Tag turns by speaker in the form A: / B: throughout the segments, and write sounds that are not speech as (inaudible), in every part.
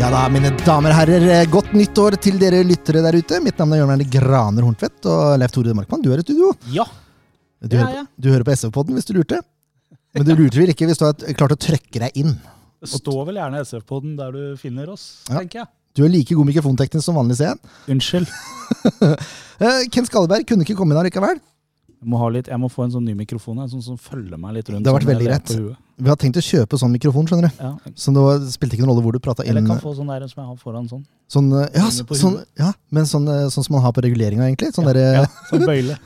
A: Ja da, mine damer og herrer, eh, godt nyttår til dere lyttere der ute. Mitt navn er Jørn Erne Graner Horntvedt, og Leif Tore Markmann, du er i studio.
B: Ja.
A: Du,
B: Ja,
A: hører,
B: ja.
A: på- du hører på SV-podden hvis du lurte. Men du lurte vel ikke hvis du har klart å trøkke deg inn.
B: Det står vel gjerne SF-poden der du finner oss,
A: Ja.
B: tenker jeg.
A: Du er like god mikrofonteknisk som vanlig, ser jeg.
B: Unnskyld.
A: Eh, Ken Skalleberg kunne ikke komme inn allikevel.
B: Jeg må, ha litt, jeg må få en sånn ny mikrofon, en sånn som følger meg litt rundt.
A: Det har vært
B: sånn
A: veldig
B: jeg
A: rett.
B: lener på huet.
A: Vi har tenkt å kjøpe sånn mikrofon, skjønner du.
B: Ja.
A: Så det var, spilte ikke noen rolle hvor du prata
B: Eller
A: inn.
B: jeg kan få sånn der som jeg har foran sånn.
A: Sånn, eh, ja,
B: Inne på
A: sånn,
B: huet.
A: ja, men sånn, eh, sånn som man har på reguleringa, egentlig. Sånn derre
B: Ja,
A: (laughs)
B: sånn bøyle.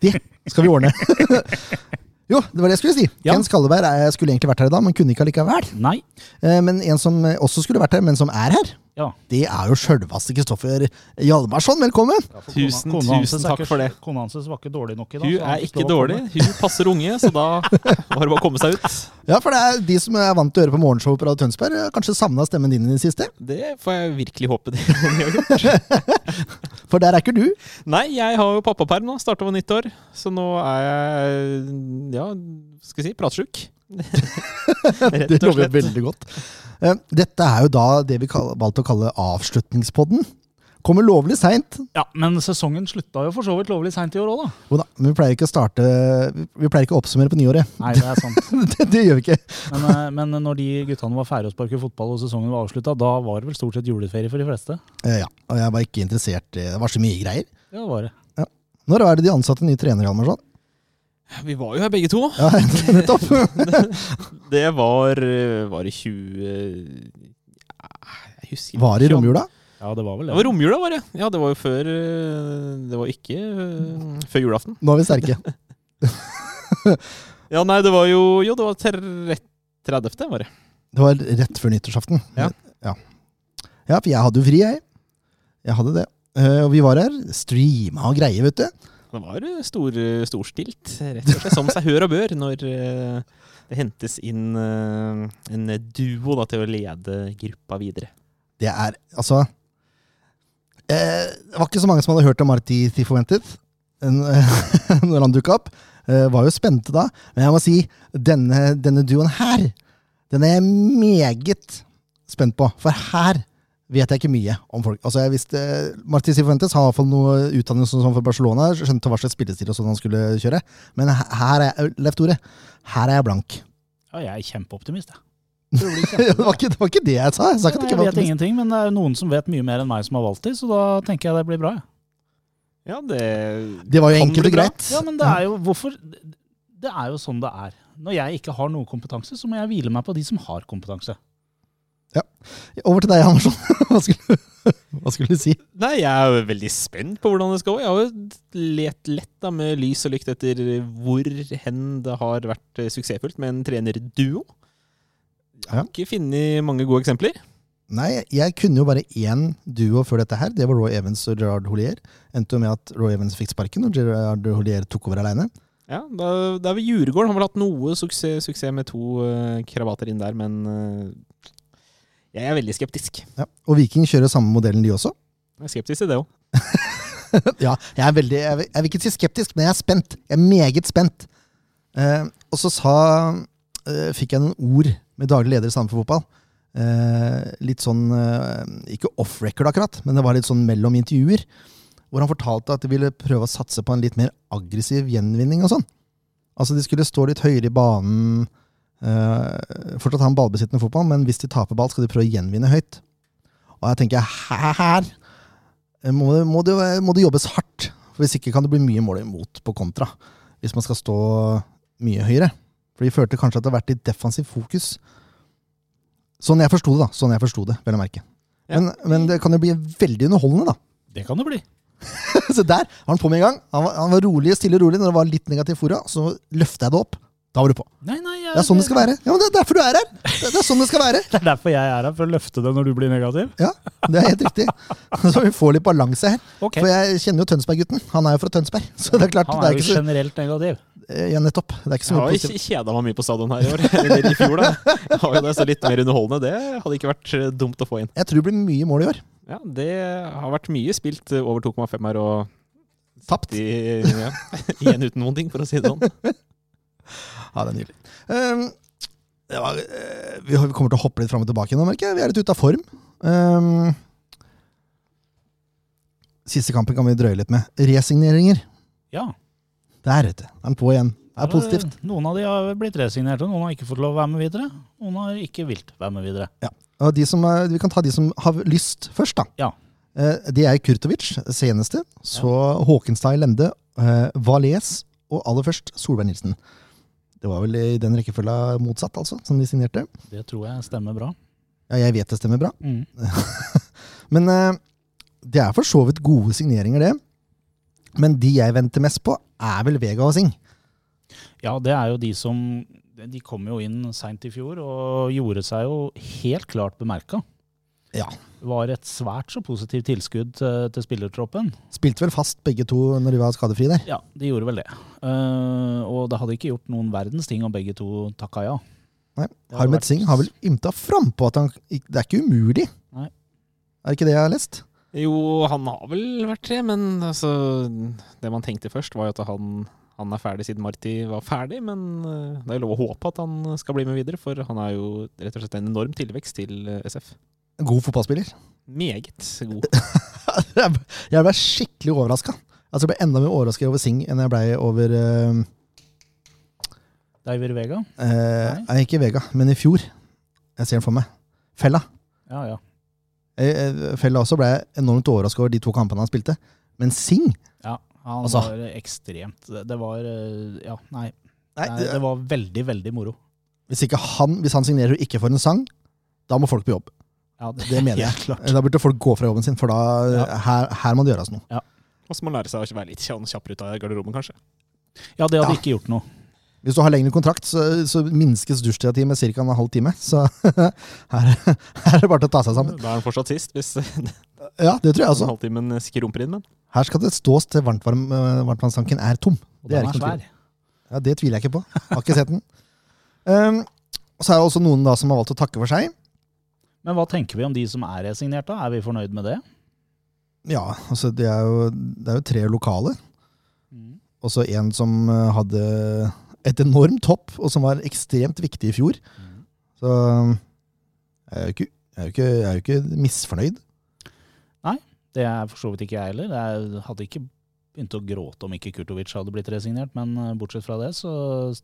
A: Det skal vi ordne.
B: (laughs)
A: jo, det var det jeg skulle si.
B: Ja.
A: Ken Skalleberg eh, skulle egentlig vært her i dag, men kunne ikke allikevel.
B: Nei.
A: Eh, Men en som eh, også skulle vært her, men som er her,
B: Ja.
A: det er jo sjølveste Kristoffer Hjalmarsson. Velkommen!
B: Ja, for
C: Tusen,
B: kona- kona hans
C: tusen
B: er
C: takk
B: ikke-
C: for det.
B: Kona hans var ikke dårlig nok i dag.
C: Hun
B: så han
C: er
B: fikk lov
C: ikke
B: å
C: dårlig.
B: komme.
C: Hun passer unge, så da var det bare å komme seg ut.
A: Ja, for det er de som er vant til å høre på morgenshow på Radio Tønsberg, eh, kanskje savna stemmen din i det siste.
C: Det får jeg virkelig håpe de (laughs) gjør.
A: For der er ikke du.
C: Nei, jeg har jo pappaperm nå. Starta på nyttår. Så nå er jeg ja, skal jeg
A: (laughs)
C: si pratsjuk. (laughs) Rett
A: Det
C: og
A: lover
C: slett.
A: veldig godt. Eh, Dette er jo da det vi kall- valgte å kalle avslutningspodden. Kommer lovlig seint.
B: Ja, men sesongen slutta jo for så vidt lovlig seint i år òg, da.
A: Jo da, Men vi pleier ikke å starte Vi pleier ikke å oppsummere på nyåret. (laughs)
B: Nei, det er sant.
A: Det, det gjør vi ikke.
B: Men, eh, men når de guttene var ferdig å sparke fotball og sesongen var avslutta, da var det vel stort sett juleferie for de fleste.
A: Eh, Ja, og jeg var ikke interessert i Det var så mye greier.
B: Ja, det var det.
A: Når er det de ansatte nye trenere, Hjalmarsson? (laughs)
C: Vi var jo her begge to.
A: Ja, nettopp!
C: Det var eh, Var i 20 eh, Jeg husker ikke.
A: Var i romjula.
B: Ja, det var vel
C: Det
B: det.
C: var romjula, var det. Ja, det var jo før eh, Det var ikke eh, før julaften.
A: Nå er vi sterke.
C: Ja, nei, det var jo Jo, det var 30. var det.
A: Det var rett før nyttårsaften.
C: Ja.
A: ja. Ja, for jeg hadde jo fri, jeg. Jeg hadde det. Eh, og vi var her. Streama og greier, vet du.
C: Det var eh, stor, storstilt, eh, rett og slett som seg hør og bør, når eh, det hentes inn eh, en duo da, til å lede gruppa videre.
A: Det er altså eh, Det var ikke så mange som hadde hørt om Marti Tifoventet (laughs) når han dukka opp. Eh, var jo spente da. Men jeg må si, denne, denne duoen her, den er jeg meget spent på. For her vet jeg ikke mye om folk. Altså, jeg visste Marti Sifuentes har i hvert fall noe utdannelse og sånn for Barcelona. Skjønte hva slags spillestil og sånn han skulle kjøre. Men he- her er jeg, Leif Tore, her er jeg blank.
B: Ja, jeg er kjempeoptimist, jeg.
A: (laughs) det, var ikke, det var ikke det jeg sa. Jeg sa ikke at det
B: Jeg
A: ikke var
B: vet ingenting, men det er jo noen som vet mye mer enn meg som har valgt de, så da tenker jeg det blir bra. jeg.
C: Ja, det
A: Det var jo
C: Kan
A: enkelt
C: bli
A: og
C: bra.
A: greit.
B: Ja, men det er jo hvorfor Det er jo sånn det er. Når jeg ikke har noe kompetanse, så må jeg hvile meg på de som har kompetanse.
A: Over til deg, Andersson. (laughs) Hva skulle, hva skulle du si?
C: Nei, jeg er jo veldig spent på hvordan det skal gå. Jeg har jo let lett da, med lys og lykt etter hvor hen det har vært eh, suksessfullt med en trenerduo. Jeg har
A: Ja.
C: ikke funnet mange gode eksempler.
A: Nei, jeg kunne jo bare én duo før dette her. Det var Roy Evans og Gerard Holier. Endte jo med at Roy Evans fikk sparken, og Gerard Holier tok over aleine.
C: Ja, da, da er vi Djurgården. Har vel hatt noe suksess, suksess med to eh, krabater inn der, men eh, jeg er veldig skeptisk.
A: Ja. Og Viking kjører samme modellen, de også.
C: Jeg er skeptisk til det òg.
A: ja, jeg er veldig Jeg vil, jeg vil ikke si skeptisk, men jeg er spent. Jeg er meget spent. Eh, og så sa eh, Fikk jeg noen ord med daglig leder i Sandefjord Fotball. Eh, litt sånn eh, Ikke off record, akkurat, men det var litt sånn mellom intervjuer. Hvor han fortalte at de ville prøve å satse på en litt mer aggressiv gjenvinning og sånn. Altså, de skulle stå litt høyere i banen. eh, fortsatt ha en ballbesittende fotball, men hvis de taper ball, skal de prøve å gjenvinne høyt. Og jeg tenker her Eh, må, må, det, må det jobbes hardt. For Hvis ikke kan det bli mye mål imot på kontra. Hvis man skal stå mye høyere. For de følte kanskje at det har vært litt defensivt fokus. Sånn jeg forsto det, da. Sånn jeg forsto det, vel å merke.
C: Ja.
A: Men, men det kan jo bli veldig underholdende, da. (laughs)
B: Det kan det bli.
A: Så der var han på med en gang. Han var, han var rolig, stille og rolig når det var litt negativ fora. Så løfta jeg det opp. Da var du på.
B: Nei, nei, jeg,
A: Det er sånn det skal være. Ja, men Det er derfor du er her! Det det er sånn det skal være.
B: (laughs) Det er derfor jeg er her, for å løfte det når du blir negativ.
A: Ja, Det er helt riktig. (laughs) Så vi får litt balanse her.
B: Ok,
A: For jeg kjenner jo Tønsberg-gutten. Han er jo fra Tønsberg. Så det er klart,
B: Han
A: det
B: er
A: er
B: jo
A: ikke så
B: generelt negativ.
A: Eh, Ja, nettopp. Det er ikke så
C: Jeg
A: mye
C: har
A: positivt.
C: ikke kjeda meg mye på stadion her i år. (laughs) Eller i fjor, da. Jeg har jo det, så litt mer underholdende. Det hadde ikke vært eh, dumt å få inn.
A: Jeg tror det blir mye mål i år.
C: Ja, det har vært mye spilt eh, over 2,5 her og
A: Tapt.
C: de, ja, (laughs) igjen uten noen ting, for å si det sånn.
A: Ja, det er nydelig. Ehm, det var, eh, vi har- vi kommer til å hoppe litt fram og tilbake nå, merker jeg. Vi er litt ute av form. Ehm, siste kampen kan vi drøye litt med. Resigneringer.
B: Ja.
A: Der, vet du. Er den på igjen. Det er
B: Ja,
A: positivt.
B: Noen av de har blitt resignert, og noen har ikke fått lov å være med videre. Noen har ikke vilt være med videre.
A: Og de som, er- vi kan ta de som har lyst først, da.
B: Ja.
A: Eh, det er Kurtovic, seneste. Så Håkenstad i Lende, eh, Valais og aller først Solveig Nilsen. Det var vel i den rekkefølga motsatt, altså, som de signerte.
B: Det tror jeg stemmer bra.
A: Ja, jeg vet det stemmer bra.
B: Mm.
A: Men eh, det er for så vidt gode signeringer, det. Men de jeg venter mest på, er vel Vega og Singh.
B: Ja, det er jo de som De kom jo inn seint i fjor og gjorde seg jo helt klart bemerka.
A: Ja.
B: Var et svært så positivt tilskudd til, til spillertroppen.
A: Spilte vel fast begge to når de var skadefrie der.
B: Ja, de gjorde vel det. Eh, og det hadde ikke gjort noen verdens ting om begge to takka ja.
A: Nei,
B: hadde
A: Harmet
B: vært-
A: Singh har vel ymta frampå at han Det er ikke umulig.
B: Nei.
A: Er det ikke det jeg har lest?
C: Jo, han har vel vært det, men altså Det man tenkte først, var jo at han, han er ferdig siden Marti var ferdig. Men eh, det er jo lov å håpe at han skal bli med videre, for han er jo rett og slett en enorm tilvekst til eh, SF.
A: God fotballspiller. (laughs)
C: Meget god.
A: Jeg ble- jeg ble skikkelig overraska. Altså, jeg ble enda mer overraska over Singh enn jeg ble over eh,
B: Deiver Vega.
A: eh,
B: Nei.
A: Nei, ikke Vega, men i fjor. Jeg ser den for meg. Fella.
B: Ja, ja.
A: Eh, eh, Fella også ble jeg enormt overraska over de to kampene han spilte. Men Singh
B: ja han
A: Altså.
B: var ekstremt det, det var eh, Ja, nei.
A: Nei,
B: Nei,
A: det,
B: det var veldig, veldig moro.
A: hvis, ikke han, hvis han signerer og ikke får en sang, da må folk på jobb.
B: Ja,
A: Det
B: (laughs)
A: mener jeg.
B: Helt klart.
A: Da burde folk gå fra jobben sin, for da, eh,
B: Ja.
A: her, her må det gjøres noe.
C: Og så må han lære seg å være litt kjapp- kjappere ut av garderoben, kanskje.
B: Ja, det hadde
A: Ja.
B: ikke gjort noe.
A: Hvis du har lengre kontrakt, så, så minskes dusjtida di med ca. en halv time. Så (laughs) her, her er det bare til å ta seg sammen.
C: Da er han fortsatt sist, hvis den
A: Ja, det tror jeg også.
C: halvtimen skrumper inn. Men
A: Her skal det stås til varmtvarm, eh, varmtvannstanken er tom.
B: Og
A: Det er ikke
B: den er
A: noe tvil.
B: svær.
A: Ja, Det tviler jeg ikke på. Har ikke sett (laughs) den. Um, og så er det også noen da som har valgt å takke for seg.
B: Men hva tenker vi om de som er resignert, da? Er vi fornøyd med det?
A: Ja, altså det er jo, det er jo tre lokale.
B: Mm.
A: Og så en som eh, hadde et enormt hopp, og som var ekstremt viktig i fjor.
B: Mhm.
A: Så um, jeg er jo ikke, jeg er jo ikke, jeg er jo ikke misfornøyd.
B: Det er for så vidt ikke jeg heller. Jeg hadde ikke begynt å gråte om ikke Kurtovic hadde blitt resignert, men eh, bortsett fra det så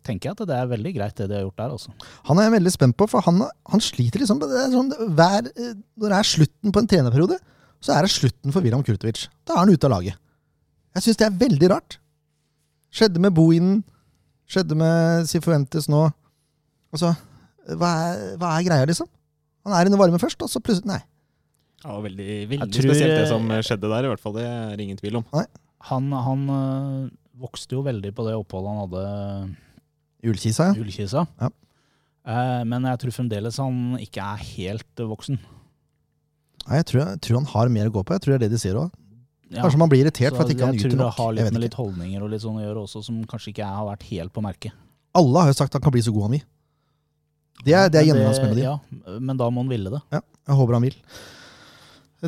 B: tenker jeg at det er veldig greit det de har gjort der, altså.
A: Han er jeg veldig spent på, for han, han sliter liksom det er sånn, hver, eh, Når det er slutten på en trenerperiode, så er det slutten for William Kurtovic. Da er han ute av laget. Jeg syns det er veldig rart. Skjedde med Bohinen. Skjedde med Sifuentes nå. Altså, hva er, hva er greia, liksom? Han er inne i varme først, og så plutselig Nei.
C: ja, det var veldig, veldig
B: tror-
C: spesielt, det som skjedde der. i hvert fall, Det er det ingen tvil om.
B: Han, han eh, vokste jo veldig på det oppholdet han hadde
A: Ullkisa,
B: i Ullkisa.
A: Ja.
B: Eh, Men jeg tror fremdeles han ikke er helt eh, voksen.
A: Nei, jeg tror, jeg tror han har mer å gå på. Jeg tror det er det de sier òg.
B: Ja.
A: Kanskje man blir irritert for
B: Så
A: at ikke han
B: jeg tror
A: yter
B: det
A: nok.
B: har
A: Jeg
B: litt
A: vet
B: med
A: ikke.
B: litt holdninger og litt sånn å gjøre også, som kanskje ikke jeg har vært helt på merket.
A: Alle har jo sagt han kan bli så god han vil. Det er, det er
B: Men
A: gjennomgangsmelodien.
B: Ja, men da må han ville det.
A: Jeg håper han vil.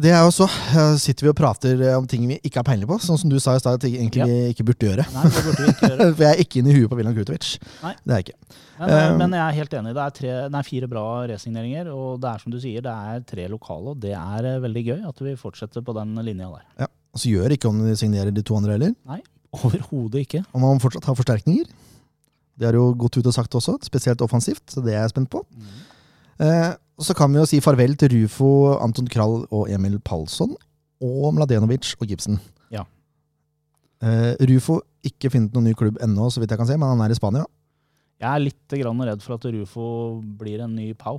A: Det er jo så eh, sitter vi og prater eh, om ting vi ikke har peiling på, sånn som du sa i stad at jeg egentlig ikke burde gjøre. (laughs)
B: Nei, det burde vi ikke gjøre.
A: For jeg er ikke inne i huet på William Krutovic.
B: Nei.
A: Det er jeg ikke.
B: Men, eh,
A: Um,
B: men jeg er helt enig. Det er, tre, nei, fire bra resigneringer, og det er som du sier, det er tre lokale, og det er eh, veldig gøy at vi fortsetter på den linja der.
A: Ja. Og så gjør ikke om de signerer de to andre heller.
B: (laughs) Overhodet ikke.
A: Om han fortsatt har forsterkninger. Det har jo gått ut og sagt også, spesielt offensivt, så det er jeg spent på.
B: Mm.
A: Eh, og så kan vi jo si farvel til Rufo, Anton Krall og Emil Palsson, og Mladenovic og Gibson.
B: Ja.
A: Eh, Rufo ikke funnet noen ny klubb ennå, så vidt jeg kan se, men han er i Spania.
B: Jeg er litt grann redd for at Rufo blir en ny Pau.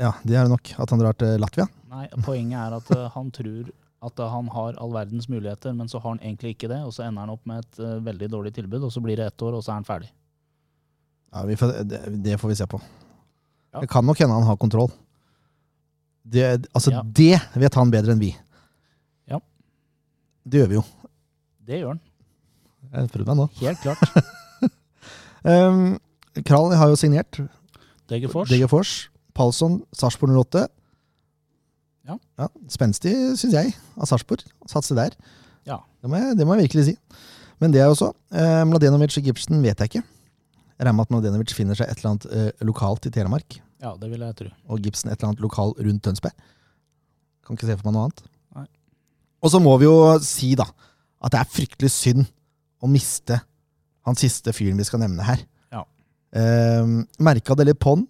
A: Ja, det er det nok. At han drar til Latvia.
B: Nei, poenget er at eh, han tror at eh, han har all verdens muligheter, men så har han egentlig ikke det, og så ender han opp med et eh, veldig dårlig tilbud, og så blir det ett år, og så er han ferdig.
A: Ja, vi får, det, det får vi se på.
B: Ja.
A: Det kan nok hende han har kontroll. Det, altså,
B: Ja.
A: det vet han bedre enn vi.
B: Ja.
A: Det gjør vi jo.
B: Det gjør han.
A: Jeg prøvde meg nå.
B: Helt (laughs) klart.
A: Um, Kral har jo signert.
B: Degerfors.
A: Degerfors. Palsson, Sarpsborg 08.
B: Ja.
A: Spenstig, syns jeg, av Sarpsborg. å Satse der.
B: Ja.
A: Det må, jeg, det må jeg virkelig si. Men det er jo så. Eh, Mladenovic og Gibson vet jeg ikke. Jeg regner med at Mladenovic finner seg et eller annet eh, lokalt i Telemark.
B: Ja, det vil jeg tro.
A: og Gibson et eller annet lokal rundt Tønsberg. Kan ikke se for meg noe annet.
B: Nei.
A: Og så må vi jo si da, at det er fryktelig synd å miste han siste fyren vi skal nevne her.
B: Ja.
A: Eh, merka det litt på'n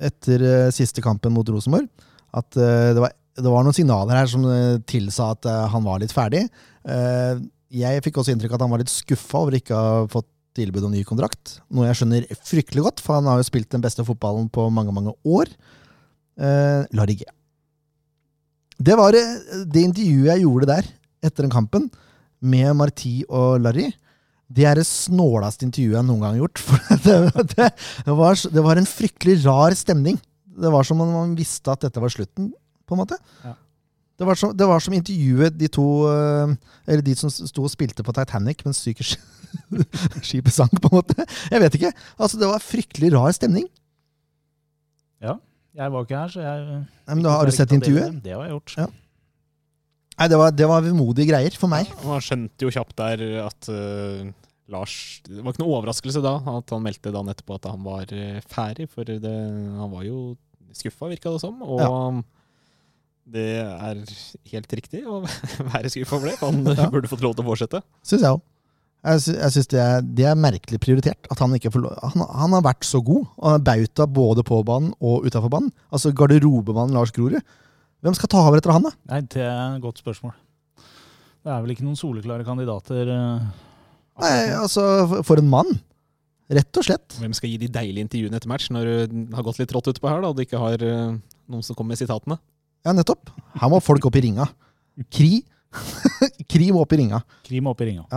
A: etter eh, siste kampen mot Rosenborg. At eh, det, var, det var noen signaler her som eh, tilsa at eh, han var litt ferdig. Eh, jeg fikk også inntrykk av at han var litt skuffa over ikke å ha fått tilbud om ny kontrakt. Noe jeg skjønner fryktelig godt, for han har jo spilt den beste fotballen på mange, mange år. Eh, Larry G. Det var eh, det intervjuet jeg gjorde der, etter den kampen, med Marti og Larry. Det er det snåleste intervjuet jeg noen gang har gjort. (laughs) For det, det, det, var, så- det var en fryktelig rar stemning. Det var som om man visste at dette var slutten, på en måte.
B: Ja.
A: Det, var som, det var som intervjuet de to eh, Eller de som sto og spilte på Titanic mens psykisk skipet sank, på en måte. Jeg vet ikke. Altså, det var fryktelig rar stemning.
B: Jeg var ikke her, så jeg
A: Nei, men da, har du sett intervjuet?
B: Det har jeg gjort.
A: Ja. Nei, det var, det var vemodige greier for meg.
C: Og han skjønte jo kjapt der at eh, Lars Det var ikke noe overraskelse da at han meldte dagen etterpå at han var eh, ferdig, for det, han var jo skuffa, virka det som. Og det er helt riktig å (laughs) være skuffa over det. for Han
A: Ja.
C: burde fått lov til å fortsette.
A: Syns jeg òg. Jeg, sy jeg synes det, er, det er merkelig prioritert. At han, ikke får lov. Han, han har vært så god. Og han er bauta både på banen og utafor banen. Altså garderobemannen Lars Grorud. Hvem skal ta over etter han, da?
B: Nei, det er et godt spørsmål. Det er vel ikke noen soleklare kandidater. eh,
A: Nei, altså, for- for en mann! Rett og slett.
C: Hvem skal gi de deilige intervjuene etter match når det har gått litt trått utpå her, da, og du ikke har eh, noen som kommer med sitatene?
A: Ja, nettopp. Her må folk opp i ringa. Kri. (laughs) Kri må opp i ringa.
B: Krim opp i ringa.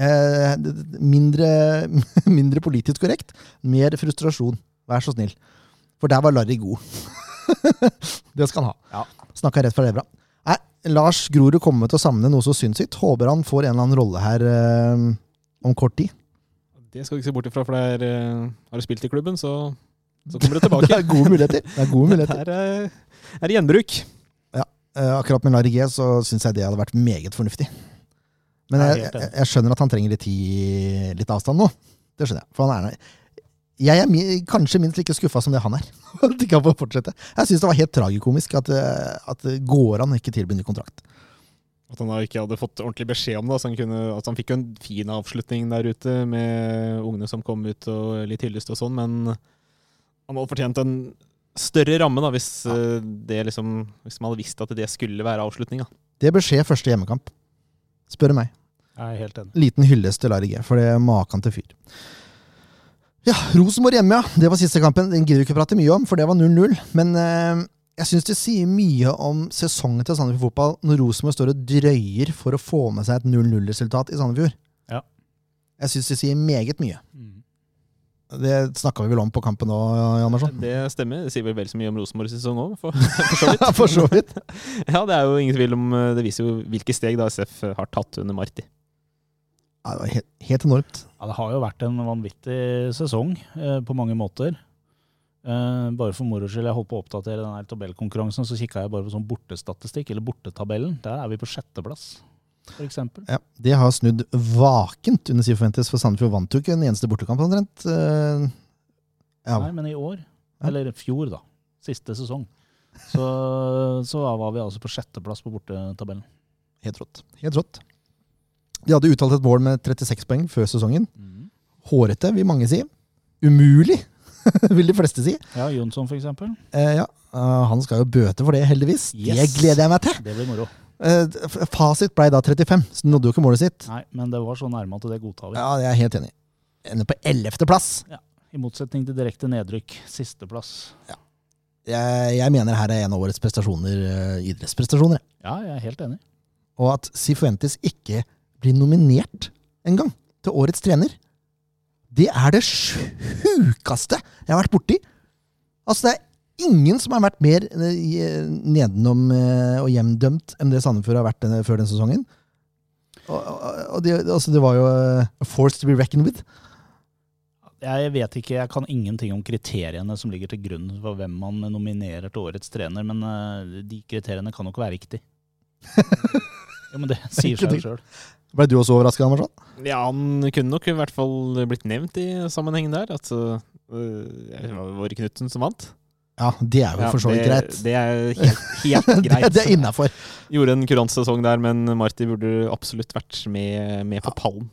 A: Eh, d- d- mindre, (laughs) mindre politisk korrekt, mer frustrasjon. Vær så snill. For der var Larry god. (laughs) det skal han ha.
B: Ja.
A: Snakka rett fra levra. Nei, Lars Grorud kommer til å savne noe så sinnssykt. Håper han får en eller annen rolle her eh, om kort tid.
C: Det skal du ikke se bort ifra, for det er, eh, har du spilt i klubben, så, så kommer du (laughs)
A: (laughs)
C: tilbake.
A: Det er gode muligheter. Det er
C: (laughs)
A: gode muligheter.
C: Her er, er gjenbruk.
A: Eh, akkurat med Larry G så syns jeg det hadde vært meget fornuftig. Men
B: Jeg er
A: jeg,
B: helt enig.
A: jeg, jeg skjønner at han trenger litt tid, litt avstand nå. Det skjønner jeg. For han er Jeg er mi, kanskje minst like skuffa som det han er. (laughs) at ikke han får fortsette. Jeg syns det var helt tragikomisk at, eh, at det går an å ikke tilby ny kontrakt.
C: At han da ikke hadde fått ordentlig beskjed om det. Så han, kunne, at han fikk jo en fin avslutning der ute med ungene som kom ut og litt hyllest og sånn, men han hadde fortjent en større ramme da, hvis, eh, det liksom, hvis man hadde visst at det skulle være avslutninga.
A: Det bør skje første hjemmekamp. Spør du meg.
B: Jeg er helt enig.
A: Liten hyllest til Larry G, for det er maken til fyr. Ja, Rosenborg hjemme, ja. Det var siste kampen. Den gidder vi ikke prate mye om, for det var 0-0. Men eh, jeg syns det sier mye om sesongen til Sandefjord fotball når Rosenborg står og drøyer for å få med seg et 0-0-resultat i Sandefjord.
B: Ja.
A: Jeg syns det sier meget mye.
B: Mm.
A: Det snakka vi vel om på kampen nå, Jan Andersson? (laughs)
C: Det stemmer. Det sier vel vel så mye om Rosenborgs sesong òg, for, (laughs) for så vidt.
A: Ja, for så vidt.
C: Ja, det er jo ingen tvil om eh, Det viser jo hvilke steg da SF har tatt under Marti.
A: Ja, det var helt, helt enormt.
B: Ja, det har jo vært en vanvittig sesong eh, på mange måter. Eh, bare for moro skyld, jeg holdt på å oppdatere den her tabellkonkurransen, så kikka jeg bare på sånn bortestatistikk, eller bortetabellen. Der er vi på sjetteplass, for eksempel.
A: Ja, det har snudd vakent under Sifuentes, for Sandefjord vant jo ikke en eneste bortekamp, omtrent. Eh, ja,
B: Nei, men i år,
A: Ja.
B: eller fjor, da. Siste sesong. Så, så (laughs) var vi altså på sjetteplass på bortetabellen.
A: Helt rått. Helt rått. De hadde uttalt et mål med 36 poeng før sesongen.
B: Mm.
A: Hårete, vil mange si. Umulig, (laughs) vil de fleste si.
B: Ja, Jonsson, for eksempel.
A: Eh, ja. eh, han skal jo bøte for det, heldigvis. Det
B: Yes.
A: gleder jeg meg til!
B: Det blir moro.
A: Eh, f- fasit blei da 35, så den nådde jo ikke målet sitt.
B: Nei, men det var så nærme at det godtar vi.
A: Ja, jeg er helt enig. Ender på 11. plass.
B: I motsetning til direkte nedrykk. Sisteplass.
A: Jeg, jeg mener her er en av årets prestasjoner, eh, idrettsprestasjoner. jeg.
B: Ja, jeg er helt enig.
A: Og at Sifuentes ikke blir nominert engang til årets trener, det er det sjukeste jeg har vært borti. Altså, det er ingen som har vært mer eh, i- nedenom eh, og hjemdømt enn det Sandefjord har vært denne, før den sesongen. Og, og, og det, altså, det var jo eh, a force to be reckoned with. (laughs)
B: Jeg vet ikke, jeg kan ingenting om kriteriene som ligger til grunn for hvem man nominerer til årets trener, men eh, de kriteriene kan nok være riktige. Jo,
A: (laughs)
B: men det sier seg jo sjøl.
A: Ble du også overraska, Amarsson?
C: Ja, han kunne nok i hvert fall blitt nevnt i sammenhengen der. At eh, Eh, Det var Våre Knutsen som vant.
A: Ja, det er jo for så vidt
C: det,
A: greit.
C: Det er helt,
A: (laughs)
C: helt greit.
A: Det, det er innafor.
C: Gjorde en kurant sesong der, men Marti burde absolutt vært med, med på pallen.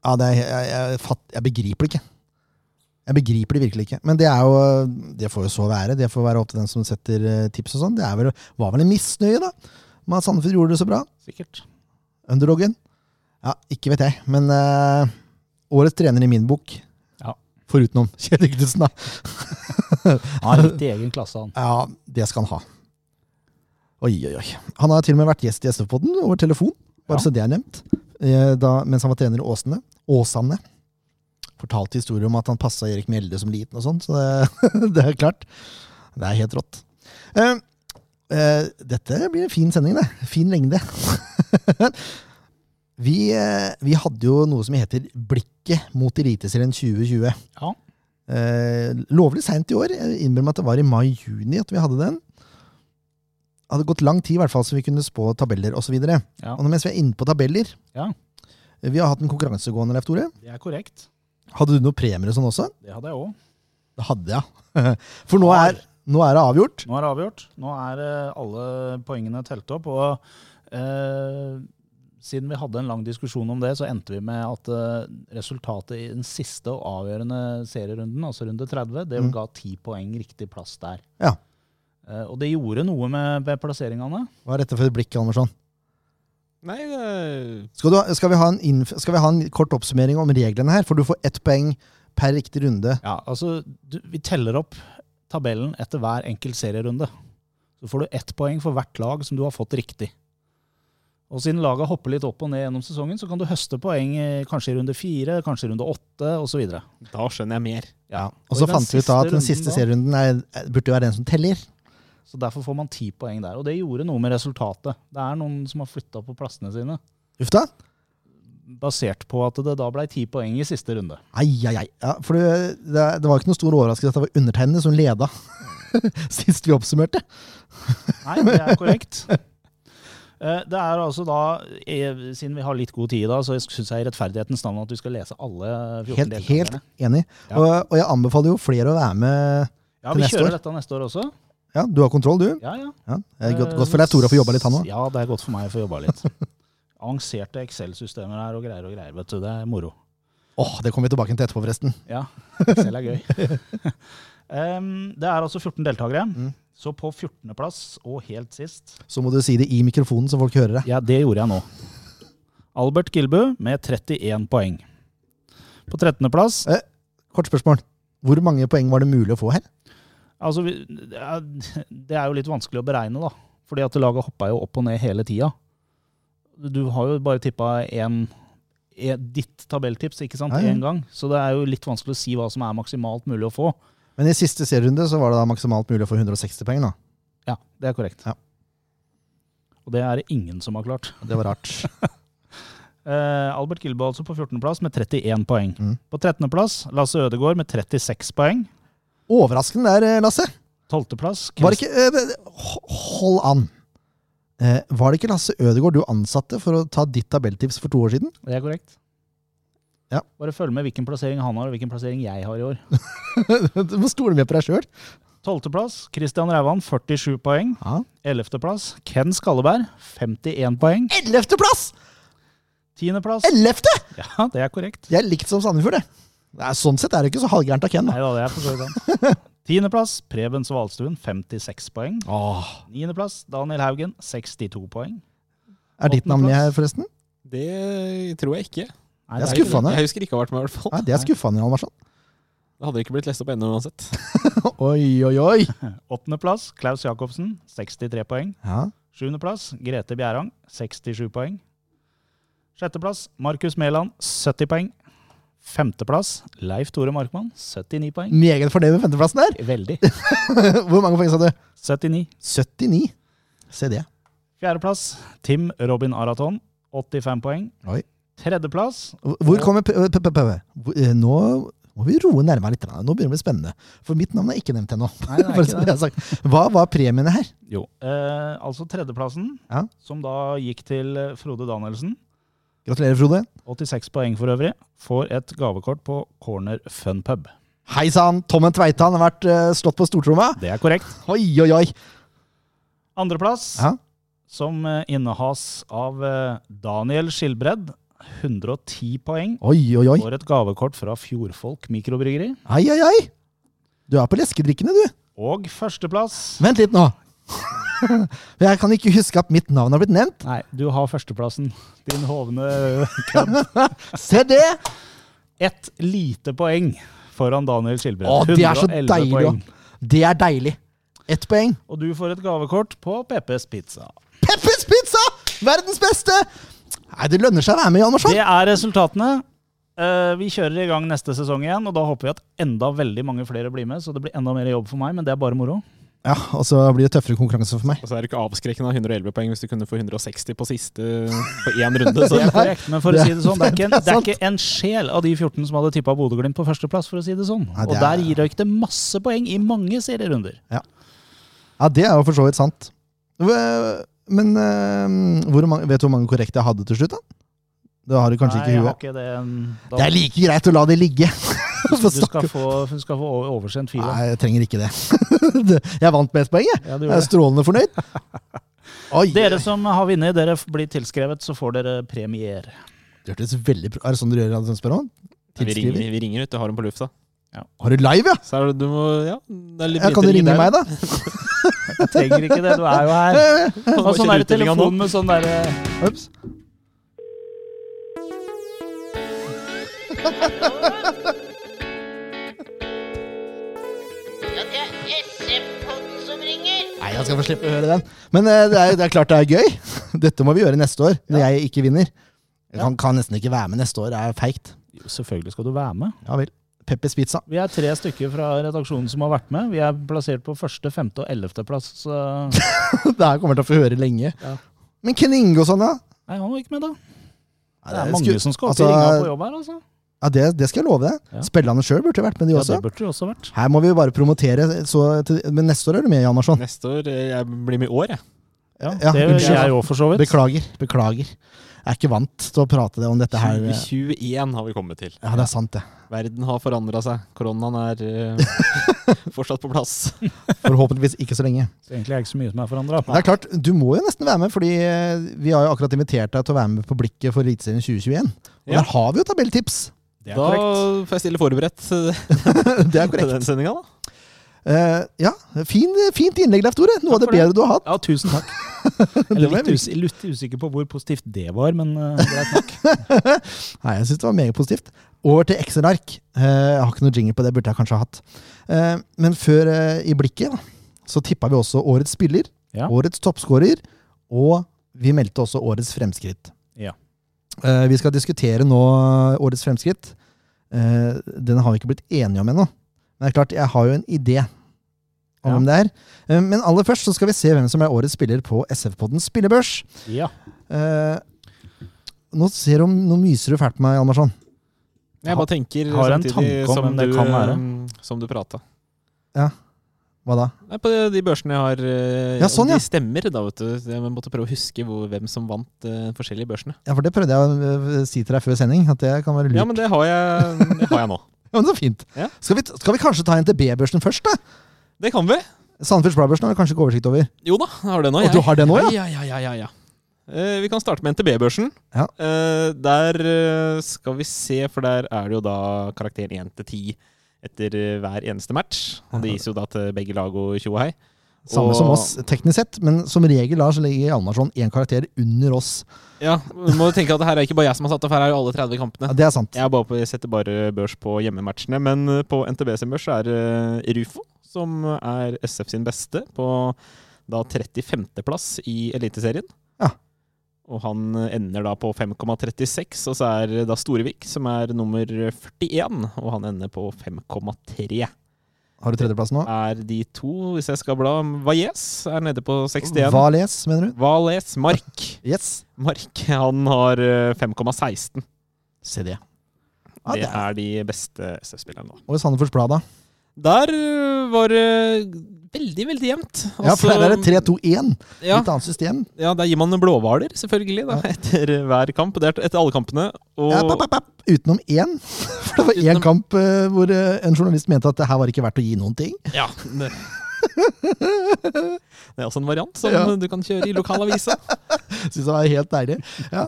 A: Ja, det er, jeg, jeg, fatt, jeg begriper det ikke. Jeg begriper det virkelig ikke. Men det er jo Det får jo så være. Det får være opp til den som setter eh, tips og sånn. Det er vel, var vel en misnøye, da, med at Sandefjord gjorde det så bra.
C: Sikkert.
A: Underdogen? Ja, ikke vet jeg. Men eh, årets trener i min bok,
B: Ja.
A: foruten om Kjell Ygnesen, da. (laughs)
B: Han har litt i egen klasse, han.
A: Ja, det skal han ha. Oi, oi, oi. Han har til og med vært gjest i SV-podden over telefon, bare
B: Ja.
A: så det er nevnt. Eh, Da, mens han var trener i Åsene. Åsane. Fortalte historier om at han passa Erik Mjelde som liten og sånn, så det, (laughs) det er klart. Det er helt rått. Eh, eh, dette blir en fin sending, det. Fin lengde. (laughs) vi, eh, vi hadde jo noe som heter Blikket mot Eliteserien 2020.
B: Ja.
A: Eh, lovlig seint i år. Jeg innbiller meg at det var i mai-juni at vi hadde den. Det hadde gått lang tid i hvert fall så vi kunne spå tabeller osv. videre
B: Ja.
A: Og nå mens vi er inne på tabeller
B: Ja.
A: eh, Vi har hatt en konkurranse gående, Leif Tore.
B: Det er korrekt.
A: Hadde du noen premier og sånn også?
B: Det hadde jeg òg.
A: Det hadde jeg. (laughs) For nå er, nå er det avgjort.
B: Nå er det avgjort. Nå er eh, alle poengene telt opp. Og eh, siden vi hadde en lang diskusjon om det, så endte vi med at eh, resultatet i den siste og avgjørende serierunden, altså runde 30, det
A: Mm.
B: ga ti poeng riktig plass der.
A: Ja.
B: Eh, og det gjorde noe med, med plasseringene.
A: Hva er dette for et blikk, Andersson?
C: Nei, det-
A: Skal, du, skal, vi ha en inf skal vi ha en kort oppsummering om reglene her? For du får ett poeng per riktig runde.
B: Ja, altså, du, vi teller opp tabellen etter hver enkelt serierunde. Så får du ett poeng for hvert lag som du har fått riktig. Og siden laget hopper litt opp og ned gjennom sesongen, så kan du høste poeng eh, kanskje i runde fire, kanskje i runde åtte, osv.
C: da skjønner jeg mer.
B: Ja.
A: Og så
B: i den
A: fant vi ut da at den
B: runden
A: siste
B: da,
A: serierunden er, er- burde jo være den som teller.
B: Så derfor får man ti poeng der. Og det gjorde noe med resultatet. Det er noen som har flytta på plassene sine,
A: Uff da.
B: basert på at det da blei ti poeng i siste runde.
A: Ai, ai, ai. Ja, for det, det, det var ikke noe stor overraskelse at det var undertegnede som leda (laughs) sist vi oppsummerte.
B: Nei, det er korrekt. Eh, Det er altså da, eh, Siden vi har litt god tid i dag, så syns jeg i rettferdighetens navn at vi skal lese alle 14
A: Helt, helt
B: deltakerne.
A: enig.
B: Ja.
A: Og, og jeg anbefaler jo flere å være med.
B: Ja,
A: til
B: Vi
A: neste
B: kjører
A: år.
B: dette neste år også.
A: Ja, Du har kontroll, du?
B: Ja, ja.
A: Ja, det er godt, godt for deg, Tora, for jobba litt, han òg.
B: Ja, det er godt for meg å få jobba litt.
A: (laughs)
B: Avanserte Excel-systemer her og greier og greier. vet du, Det er moro.
A: Åh, det kommer vi tilbake til etterpå, forresten.
B: Ja, Excel er gøy.
A: (laughs)
B: Em, Det er altså 14 deltakere.
A: Mm.
B: Så på 14.-plass og helt sist
A: Så må du si det i mikrofonen, så folk hører det.
B: Ja, det gjorde jeg nå. Albert Gilbu med 31 poeng. På 13.-plass
A: Kort spørsmål. Hvor mange poeng var det mulig å få her?
B: Altså, vi- det er- det er jo litt vanskelig å beregne, da. Fordi at laget hoppa jo opp og ned hele tida. Du har jo bare tippa én ditt tabelltips, ikke sant,
A: Ja, ja.
B: én gang. Så det er jo litt vanskelig å si hva som er maksimalt mulig å få.
A: Men i siste serierunde så var det da maksimalt mulig å få 160 poeng, da.
B: Ja, det er korrekt.
A: Ja.
B: Og det er det ingen som har klart.
A: Det var rart.
B: Eh, Albert Gilbo altså på 14.-plass med 31 poeng.
A: Mm.
B: På 13.-plass Lasse Ødegaard med 36 poeng.
A: Overraskende der, eh, Lasse.
B: 12.-plass
A: Var det ikke eh, men, ho- Hold an. Eh, var det ikke Lasse Ødegaard du ansatte for å ta ditt tabelltips for to år siden? (laughs)
B: Det er korrekt.
A: Ja.
B: Bare følg med hvilken plassering han har, og hvilken plassering jeg har i år.
A: du må stole mer på deg sjøl.
B: Tolvteplass Christian Rævan, 47 poeng.
A: Ja.
B: Ellevteplass Ken Skalleberg, 51 poeng.
A: Ellevteplass!
B: Tiendeplass
A: Ellevte!
B: Ja, det er korrekt.
A: Jeg er likt som Sandefjord, det. Nei, sånn sett er det ikke så halvgærent av Ken, da.
B: Nei da, det er for så vidt han.
A: (laughs)
B: Tiendeplass Preben Svalstuen, 56 poeng. Niendeplass Daniel Haugen, 62 poeng.
A: Er ditt navn med her, forresten?
C: Det tror jeg ikke.
B: Nei,
A: Det er
B: ikke-
A: skuffende.
C: Jeg husker ikke å ha vært med, i hvert fall.
A: Nei, det er skuffende, Almarsson.
C: Det hadde ikke blitt lest opp ennå uansett.
A: Oi, oi, oi.
B: Åttendeplass Klaus Jacobsen, 63 poeng.
A: Ja.
B: Sjuendeplass Grete Bjerang, 67 poeng. Sjetteplass Markus Mæland, 70 poeng. Femteplass Leif Tore Markmann, 79 poeng.
A: Meget fornøyd med femteplassen der.
B: Veldig.
A: (laughs) Hvor mange poeng sa du?
B: 79.
A: 79. Se det.
B: Fjerdeplass, Tim Robin Araton, 85 poeng.
A: Oi.
B: Tredjeplass,
A: Hvor kommer p- p- p- p- hvor- eh, Nå må vi roe nærmere litt. grann. Nå begynner det å bli spennende. For mitt navn er ikke nevnt ennå. (laughs)
B: Nei, det er
A: Bare
B: ikke
A: så
B: det.
A: det er sagt. Hva var premiene her?
B: jo, eh, altså tredjeplassen,
A: Ja.
B: som da gikk til eh, Frode Danielsen,
A: Gratulerer, Frode.
B: 86 poeng for øvrig, får et gavekort på Corner Fun Pub.
A: Hei sann! Tommen Tveitan har vært eh, slått på stortromma.
B: Det er korrekt.
A: Oi, oi, oi!
B: Andreplass,
A: Ja.
B: som eh, innehas av eh, Daniel Skilbredd. 110 poeng.
A: Oi, oi, oi.
B: Får et gavekort fra Fjordfolk mikrobryggeri.
A: Ai, ai, ai! Du er på leskedrikkene, du.
B: Og førsteplass
A: Vent litt nå. (laughs) For jeg kan ikke huske at mitt navn har blitt nevnt.
B: Nei, du har førsteplassen, din hovne
A: Se det!
B: Ett lite poeng foran Daniel Skilbredd.
A: Å, det er så
B: 111
A: deilig,
B: poeng.
A: Det er deilig. Ett poeng.
B: Og du får et gavekort på PPs Pizza.
A: Peppers pizza! Verdens beste! Nei, det lønner seg å være med, Jan Marsson.
B: Det er resultatene. Eh, vi kjører i gang neste sesong igjen, og da håper vi at enda veldig mange flere blir med. Så det blir enda mer jobb for meg, men det er bare moro.
A: Ja, og så blir det tøffere konkurranse for meg.
C: Og så er det ikke avskrekkende av 111 poeng hvis du kunne få 160 på siste på én runde.
A: (laughs)
C: Så
B: Det er korrekt, men for å
A: det-
B: si det sånn, det er ikke
A: (laughs)
B: en,
A: det er
B: det er ikke en sjel av de 14 som hadde tippa Bodø-Glimt på førsteplass, for å si det sånn.
A: Nei,
B: Og
A: det er-
B: der gir røyk det masse poeng i mange serierunder.
A: Ja, det er jo for så vidt sant. Hva- Men eh, hvor mange, vet du hvor mange korrekte jeg hadde til slutt, da? Det har du kanskje
B: Nei,
A: ikke i
B: jeg har
A: huet.
B: ikke det. Da,
A: Det er like greit å la det ligge. (laughs)
B: du,
A: Få
B: skal
A: snakke-
B: få, du skal få o- oversendt fila.
A: Nei, jeg trenger ikke det. (laughs) Det- Jeg vant med ett poeng, jeg.
B: Ja,
A: Jeg er
B: du gjør det.
A: strålende
B: (laughs)
A: fornøyd. Oi,
B: Dere som har vunnet, dere f- blir tilskrevet, så får dere premier.
A: det hørtes veldig bra Er det sånn du gjør, Adrian Sperron?
C: vi ringer,
A: Tilskriver?
C: vi ringer ut, du har dem på lufta.
A: Har du live, ja?
C: Så er det, du må, ja, det er litt
A: ja kan du ringe meg, da?
B: Du trenger ikke det, du er jo her.
C: Og
B: Og sånn der telefon med sånn derre
A: Ups.
D: Ja, det er SM-podden som ringer.
A: Nei, jeg skal få slippe å høre den. Men eh, det, er, det er klart det er gøy. (laughs) Dette må vi gjøre neste år, når jeg ikke vinner. Jeg kan, kan nesten ikke være med neste år, det er feigt.
B: Jo, Selvfølgelig skal du være med.
A: Ja vel. Peppers pizza. (laughs)
B: Vi er tre stykker fra redaksjonen som har vært med. Vi er plassert på første, femte og ellevteplass. Så...
A: Det her kommer jeg til å få høre lenge.
B: Ja.
A: Men Ken Inge og sånn, da?
B: Nei, han var ikke med, da.
A: Nei,
B: Det er
A: jeg
B: mange
A: skulle-
B: som skal opp
A: altså,
B: i ringa på jobb her, altså.
A: Ja, det, det skal jeg love deg.
B: Ja.
A: Spillerne sjøl burde jo vært med, de
B: Ja,
A: også.
B: det burde det også vært.
A: Her må vi jo bare promotere, så til, men neste år er du med, Jan Marsson.
C: Neste år eh, Jeg blir med i år, jeg.
B: Ja,
A: Ja,
B: det
A: unnskyld.
B: gjør jeg òg, for så vidt.
A: Beklager. Beklager. Jeg er ikke vant til å prate om dette her. eh,
C: 2021 har vi kommet til.
A: Ja, det er sant, det.
C: Verden har forandra seg. Koronaen er eh,
A: (laughs)
C: fortsatt på plass.
A: Forhåpentligvis ikke så lenge.
B: Så egentlig er det ikke så mye som er forandra.
A: Det er klart, Du må jo nesten være med, fordi eh, vi har jo akkurat invitert deg til å være med på Blikket for Eliteserien 2021. Og
C: Ja.
A: der har vi jo tabelltips!
B: Det er
C: Da
B: korrekt.
C: får jeg stille forberedt (laughs) eh,
A: Det er
C: til
A: korrekt.
C: den sendinga, da.
A: Eh, ja, fin, fint innlegg, Leif Tore. Noe av det
B: Takk for det.
A: bedre du har hatt.
B: Ja, tusen (laughs) takk. Jeg
A: Det
B: er
A: var
B: litt, us litt usikker på hvor positivt det var, men eh, greit nok.
A: (laughs) Nei, jeg synes det var meget positivt. Over til Excel-ark. Eh, jeg har ikke noe jingle på det, burde jeg kanskje ha hatt. Eh, men før eh, i blikket, da, så tippa vi også årets spiller,
B: Ja.
A: årets toppskårer, og vi meldte også årets fremskritt.
B: Ja.
A: Eh, vi skal diskutere nå årets fremskritt. Eh, den har vi ikke blitt enige om ennå. Men det er klart, jeg har jo en idé om
B: Ja.
A: hvem det er. Eh, men aller først så skal vi se hvem som er årets spiller på SF-poddens spillebørs.
B: Ja.
A: Eh, nå ser du, nå myser du fælt på meg, sånn. Hjalmarsson.
C: Jeg bare tenker
B: Har en
C: samtidig
B: tanke om
C: som
B: hvem det
C: du,
B: kan være.
C: eh, som du prata.
A: Hva da?
C: Nei, På de børsene jeg har eh,
A: Ja, sånn,
C: om
A: ja.
C: De stemmer, da, vet du. Jeg måtte prøve å huske hvor, hvem som vant eh, forskjellige børsene.
A: Ja, for det prøvde jeg å øh, si til deg før sending, at det kan være lurt.
C: Ja, men det har jeg, det har jeg nå.
A: (laughs) Ja, men så fint.
C: Ja.
A: Skal, vi, skal vi kanskje ta NTB-børsen først, da?
C: Det kan vi.
A: Sandefjordsbladbørsen har vi kanskje ikke oversikt over.
C: Jo da, jeg har det nå.
A: Og
C: jeg.
A: du har det nå, ja?
C: Ja, ja, ja, ja, ja. Eh, vi kan starte med NTB-børsen.
A: Ja.
C: Eh, der eh, skal vi se, for der er det jo da karakter 1 til 10 etter eh, hver eneste match. Og det gis jo da til begge lag og tjo og hei.
A: Samme
C: Og-
A: som oss, teknisk sett, men som regel Lars legger Hjalmarsson én karakter under oss.
C: Ja, du må jo tenke at det her er ikke bare jeg som har satt opp, her er jo alle 30 kampene.
A: Ja, det er sant.
C: Jeg, er bare på, jeg setter bare børs på hjemmematchene, men eh, på NTB sin børs så er det Rufo, som er SF sin beste, på da 35. plass i Eliteserien.
A: Ja.
C: Og han ender da på 5,36, og så er det da Storevik, som er nummer 41, og han ender på 5,3.
A: Har du tredjeplass nå?
C: Er de to, hvis jeg skal bla Valles er nede på 61.
A: Vales, mener du?
C: Valles, Mark.
A: Yes.
C: Mark, han har eh, 5,16.
A: Se det. Ja, det
C: Det
A: er.
C: er de beste SF-spillerne nå.
A: Og i Sandefjords Blad, da?
C: Der øh, var det veldig, veldig jevnt.
A: Ja,
C: Altså,
A: for der er det 3-2-1.
C: ja,
A: Litt annet system.
C: ja, der gir man blåhvaler, selvfølgelig, da,
A: Ja.
C: (laughs) etter hver kamp. Det er etter alle kampene. Og
A: Ja, papp, papp, papp. Utenom én. (laughs) For det var én
C: Utenom-
A: kamp eh, hvor eh, en journalist mente at det her var ikke verdt å gi noen ting. (laughs)
C: Ja. Det det er også en variant som
A: Ja.
C: du kan kjøre i lokalavisa. (laughs)
A: Synes det var helt deilig. Ja.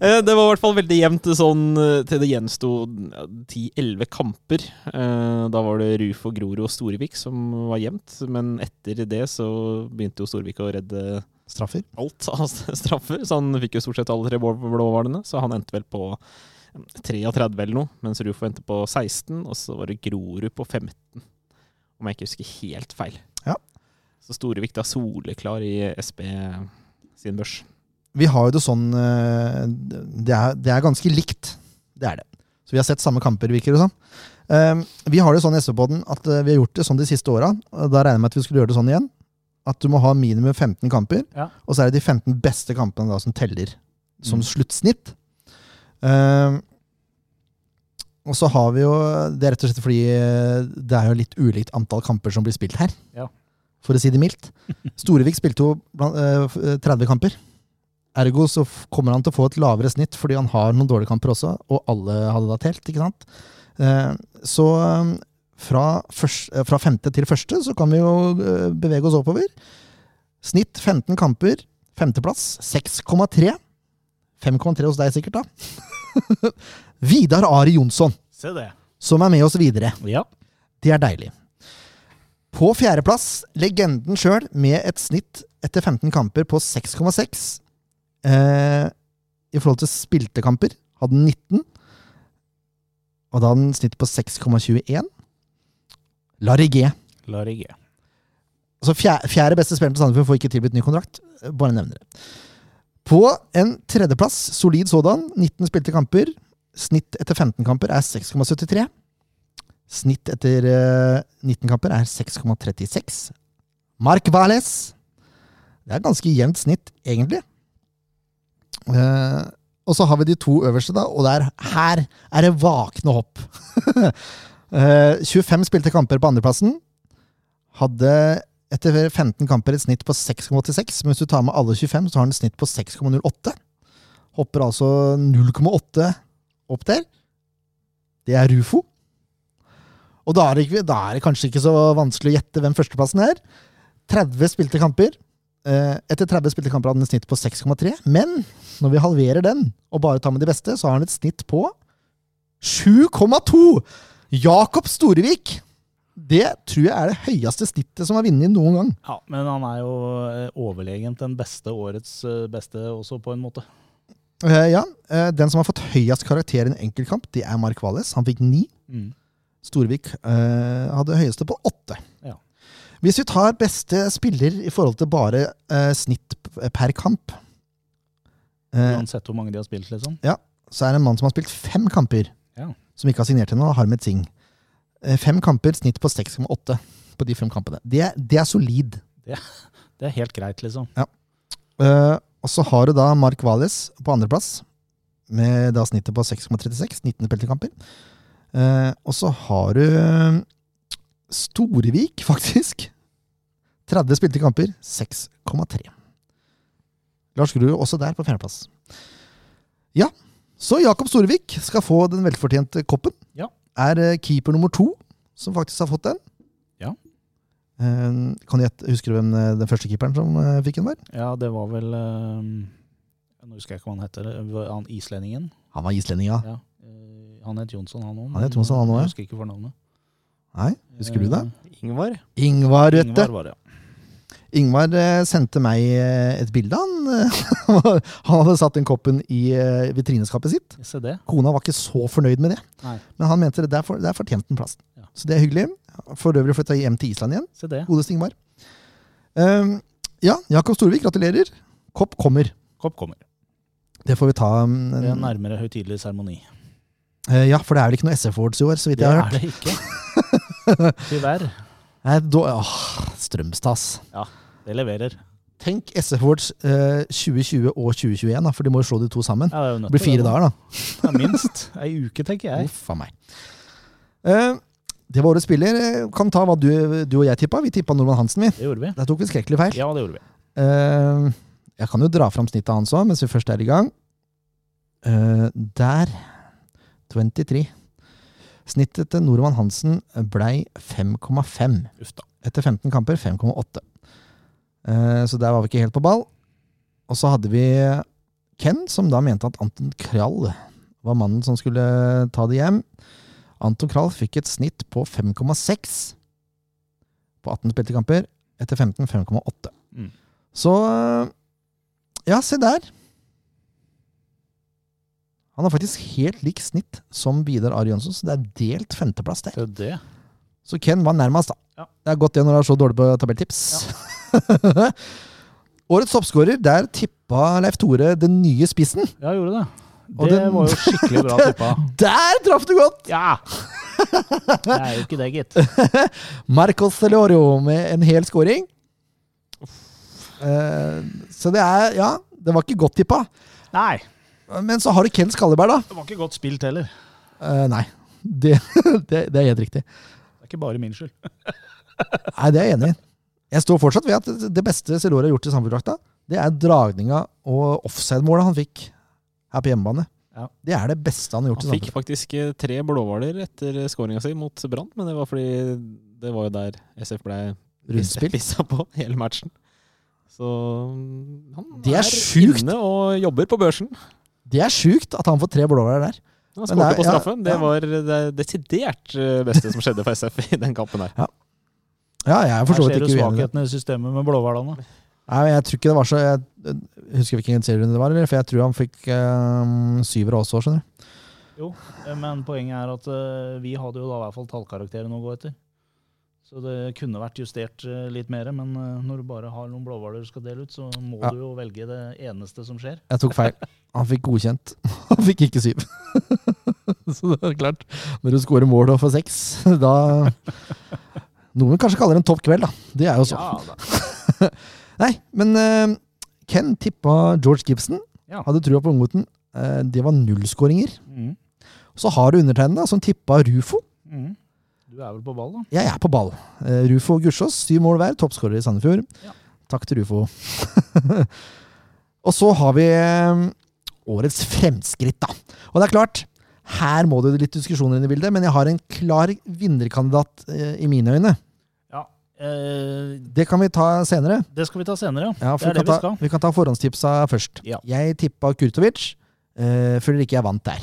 C: Eh, Det var i hvert fall veldig jevnt sånn eh, til det gjensto ja, 10-11 kamper. Eh, Da var det Rufo, Grorud og Storvik som var jevnt, men etter det så begynte jo Storvik å redde
A: Straffer.
C: alt av (laughs) straffer, så han fikk jo stort sett alle tre blå- blåhvalene. Så han endte vel på 33 eller noe, mens Rufo endte på 16, og så var det Grorud på 15. Om jeg ikke husker helt feil.
A: Ja.
C: Så Storevik da soleklar i SB sin børs.
A: Vi har jo det sånn eh, Det er, det er ganske likt. Det er det. Så vi har sett samme kamper, virker det sånn. Vi har det sånn i SV-podden at eh, vi har gjort det sånn de siste åra. og Da regner jeg med at vi skulle gjøre det sånn igjen. At du må ha minimum 15 kamper,
B: Ja.
A: og så er det de 15 beste kampene da som teller som
C: Mm.
A: sluttsnitt. Eh, og så har vi jo Det er rett og slett fordi eh, det er jo litt ulikt antall kamper som blir spilt her.
B: Ja.
A: For å si det mildt. Storevik spilte jo blant, eh, f- eh, 30 kamper. Ergo så f- kommer han til å få et lavere snitt fordi han har noen dårlige kamper også, og alle hadde da telt, ikke sant? Eh, Så eh, fra, først, eh, fra femte til første så kan vi jo eh, bevege oss oppover. Snitt 15 kamper, femteplass 6,3. 5,3 hos deg sikkert, da. (laughs) Vidar Ari Jonsson,
B: Se det.
A: som er med oss videre.
B: Ja.
A: Det er deilig. På fjerdeplass, legenden sjøl, med et snitt etter 15 kamper på 6,6. Eh, I forhold til spilte kamper hadde han 19. Og da hadde han snitt på 6,21. Larry G.
B: Lar ikke.
A: Altså fjerde, fjerde beste spilleren til Sandefjord får ikke tilbudt ny kontrakt. Eh, Bare nevner det. På en tredjeplass, solid sådan, 19 spilte kamper. Snitt etter 15 kamper er 6,73. Snitt etter eh, 19 kamper er 6,36. Mark Vales. Det er et ganske jevnt snitt, egentlig. Eh, og så har vi de to øverste, da, og der, her er det vakne hopp. (laughs) Eh, 25 spilte kamper på andreplassen. Hadde etter 15 kamper et snitt på 6,86, men hvis du tar med alle 25, så har han et snitt på 6,08. Hopper altså 0,8 opp der. Det er Rufo. Og da er, det, ikke- da er det kanskje ikke så vanskelig å gjette hvem førsteplassen er. 30 spilte kamper. Eh, Etter 30 spilte kamper hadde han et snitt på 6,3, men når vi halverer den og bare tar med de beste, så har han et snitt på 7,2! Jakob Storevik! Det tror jeg er det høyeste snittet som har vunnet noen gang.
B: Ja, men han er jo eh, overlegent den beste årets eh, beste også, på en måte.
A: Eh, ja, eh, Den som har fått høyest karakter i en enkeltkamp, det er Mark Valles. Han fikk ni.
B: Mm.
A: Storvik eh, hadde høyeste på åtte.
B: Ja.
A: Hvis vi tar beste spiller i forhold til bare eh, snitt p- per kamp, eh,
B: Uansett hvor mange de har spilt, liksom.
A: så er det en mann som har spilt fem kamper,
B: Ja.
A: som ikke har signert ennå, Harmet Singh. Eh, fem kamper, snitt på 6,8 på de fem kampene. Det, er- det er solid.
B: Det er helt greit, liksom.
A: Eh, og så har du da Mark Valles på andreplass, med da snittet på 6,36, 19 spilte kamper. Eh, og så har du eh, Storevik, (laughs) faktisk. 30 spilte kamper, 6,3. Lars Grue også der på fjerdeplass. Ja, så Jakob Storevik skal få den velfortjente koppen.
B: Ja.
A: Er eh, keeper nummer to som faktisk har fått den.
B: Ja.
A: Eh, kan du gjette, husker du hvem eh, den første keeperen som eh, fikk den var?
B: Ja, det var vel eh, Nå husker jeg ikke hva han heter. det var Han islendingen.
A: Han var islending, ja.
B: Ja. Eh, Han het Jonsson, han òg.
A: Han het Jonsson, han også, ja.
B: Jeg husker ikke fornavnet.
A: Nei, husker du det?
B: Eh,
C: Ingvar?
A: Ingvar, vet
B: Ingvar
A: du.
B: var det, ja.
A: Ingvar eh, sendte meg eh, et bilde. Han, eh, (laughs) han hadde satt den koppen i eh, vitrineskapet sitt.
B: Se det.
A: Kona var ikke så fornøyd med det,
B: Nei,
A: men han mente det der, for, der fortjente den plassen.
B: Ja.
A: Så det er hyggelig. For øvrig flytta hjem til Island igjen.
B: se det.
A: Godeste Ingvar. Um, ja, Jakob Storvik, gratulerer. Kopp kommer.
B: Kopp kommer.
A: Det får vi ta. um,
B: Det er
A: en-
B: nærmere høytidelig seremoni.
A: eh, ja, for det er vel ikke noe SF Awards i år, så vidt
B: Det
A: jeg har
B: er
A: hørt.
B: det ikke. Tyverr.
A: Nei, da- Åh, Strømstad, ass.
B: Det leverer.
A: Tenk SF Awards eh, 2020 og 2021, da, for de må jo slå de to sammen.
B: Ja, det er jo
A: Det
B: nødt
A: blir
B: til
A: fire
B: det, da.
A: dager, da.
B: Ja, minst. Ei uke, tenker jeg.
A: Uff a meg. Eh, Det var årets spiller. Kan ta hva du, du og jeg tippa. Vi tippa Norman Hansen, vi.
B: Det gjorde vi.
A: Der tok vi skrekkelig feil.
B: Ja, det gjorde vi.
A: Eh, jeg kan jo dra fram snittet hans òg, mens vi først er i gang. Eh, der 23. Snittet til Norman Hansen blei 5,5.
B: Uff da.
A: Etter 15 kamper 5,8. Eh, så der var vi ikke helt på ball. Og så hadde vi Ken, som da mente at Anton Krall var mannen som skulle ta det hjem. Anton Krall fikk et snitt på 5,6 på 18 spilte kamper. Etter 15 5,8.
B: Mm.
A: Så eh, Ja, se der. Han har faktisk helt lik snitt som Vidar Ari Jønsson, så det er delt femteplass der.
B: Det er det.
A: Så Ken var nærmest, da.
B: Ja.
A: Det er godt det når du er så dårlig på tabelltips. (laughs) Årets toppskårer, der tippa Leif Tore den nye spissen.
B: Ja, gjorde det.
A: Og
B: Det
A: den-
B: var jo skikkelig
A: (laughs)
B: bra tippa.
A: Der traff du godt!
B: Ja! Det er jo ikke det, gitt.
A: Marcos Celorio med en hel scoring. Eh, så det er Ja, det var ikke godt tippa.
B: Nei.
A: Men så har du Ken Skalleberg, da.
B: Det var ikke godt spilt heller.
A: Eh, nei. (laughs) Det, det, det er helt riktig.
B: Det er ikke bare min skyld.
A: Nei, det er jeg enig i. Jeg står fortsatt ved at det beste Celorio har gjort i samfunnsdrakta, det er dragninga og offside-målet han fikk her på hjemmebane.
B: Ja.
A: Det er det beste han har gjort.
C: Han
A: i
C: fikk
A: samfunnsdrakt.
C: faktisk eh, tre blåhvaler etter skåringa si mot Brann, men det var fordi det var jo der SF ble
A: Rundspill.
C: pissa på hele matchen. Så mm, han
A: Det er
C: er,
A: sjukt.
C: inne og jobber på børsen.
A: Det er sjukt at han får tre blåhvaler der.
C: Han
A: Men det er-
C: skåret på
A: ja,
C: straffen.
A: ja.
C: Det var det desidert eh, beste som skjedde for SF i den kampen her.
A: Ja, jeg er for
B: Her
A: så vidt
B: ser du
A: ikke uenig. i det.
B: svakhetene i systemet med blåhvalene.
A: Nei, men jeg tror ikke det var så Jeg jeg husker hvilken serierunde det var, eller? for jeg tror han fikk um, syvere også, skjønner du.
B: Eh, Men poenget er at eh, vi hadde jo da i hvert fall tallkarakteren å gå etter. Så det kunne vært justert eh, litt mer, men eh, når du bare har noen blåhvaler du skal dele ut, så må
A: Ja.
B: du jo velge det eneste som skjer.
A: Jeg tok feil. Han fikk godkjent. (laughs) Han fikk ikke syv. (laughs) så det er klart. Når du scorer mål og får seks, (laughs) da Noen kanskje kaller det en topp kveld, da. Det er jo så.
B: da.
A: Nei, men eh, Ken tippa George Gibson.
B: Ja.
A: Hadde trua på unggutten. Eh, det var nullskåringer.
B: Mm.
A: Så har du undertegnede, da, som tippa Rufo.
B: Mm. Du er vel på ball, da?
A: Jeg er på ball. Eh, Rufo og Gussiås, syv mål hver. Toppskårer i Sandefjord.
B: Ja.
A: Takk til Rufo. (laughs) og så har vi eh, årets fremskritt, da. Og det er klart, her må det litt diskusjoner inn i bildet, men jeg har en klar vinnerkandidat eh, i mine øyne.
B: Ja. Eh,
A: Det kan vi ta senere.
B: det skal vi ta senere, ja.
A: Ja, for vi, kan
B: Det er det vi
A: ta,
B: skal.
A: vi kan ta forhåndstipsa først.
B: Ja.
A: Jeg tippa Kurtovic. Uh, føler ikke jeg vant der.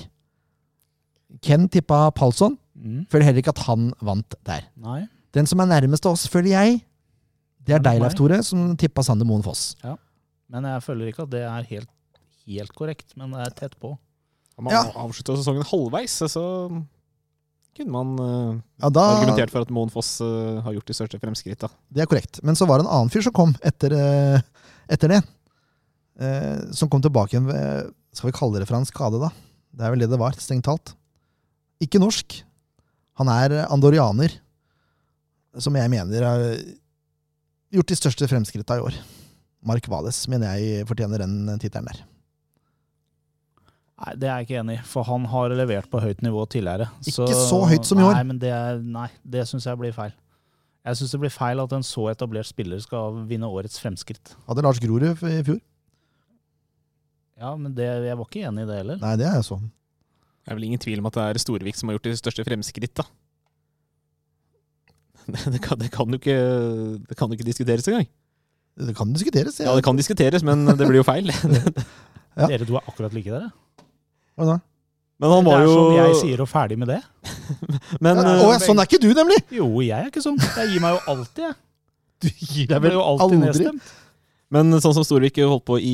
A: Ken tippa Palsson.
B: Mm.
A: Føler heller ikke at han vant der.
B: Nei.
A: Den som er nærmest oss, føler jeg, det
B: Er
A: er
B: det
A: deg,
B: meg?
A: Leif Tore, som tippa Sander Moen Foss.
B: Men jeg føler ikke at det er helt, helt korrekt, men det er tett på.
C: Han
A: Ja.
C: avslutta sesongen halvveis, eh, så kunne man eh,
A: Ja, da,
C: argumentert for at Moen Foss eh, har gjort de største fremskritta.
A: Det er korrekt. Men så var det en annen fyr som kom etter, eh, etter det. Eh, som kom tilbake igjen ved Skal vi kalle det for en skade, da? Det er vel det det var, strengt talt. Ikke norsk. Han er andorianer. Som jeg mener har gjort de største fremskritta i år. Mark Vales mener jeg fortjener den tittelen der.
B: Nei, Det er jeg ikke enig i, for han har levert på høyt nivå tidligere.
A: Ikke så høyt som i år.
B: Nei, men det, er- nei, det syns jeg blir feil. Jeg syns det blir feil at en så etablert spiller skal vinne årets fremskritt.
A: Hadde Lars Grorud f- i fjor?
B: Ja, men det, jeg var ikke enig i det heller.
A: Nei, det er jeg så.
C: Det er vel ingen tvil om at det er Storvik som har gjort de største fremskritta. (laughs) Det kan, det, kan jo ikke, det kan jo ikke diskuteres engang.
A: Det kan diskuteres.
C: Ja, det kan diskuteres, men det blir jo feil.
A: Ja.
B: Dere to er akkurat like dere.
A: Hva da?
C: (laughs) Men han
B: Det
C: var
B: er
C: jo
B: som jeg sier og ferdig med det.
C: Men
A: Ja,
C: eh,
A: å, ja, sånn er ikke du, nemlig!
B: Jo, jeg er ikke sånn. Jeg gir meg jo alltid, jeg.
A: Du gir
B: Jeg blir jo alltid
A: aldri.
B: nedstemt.
C: Men sånn som Storvik holdt på i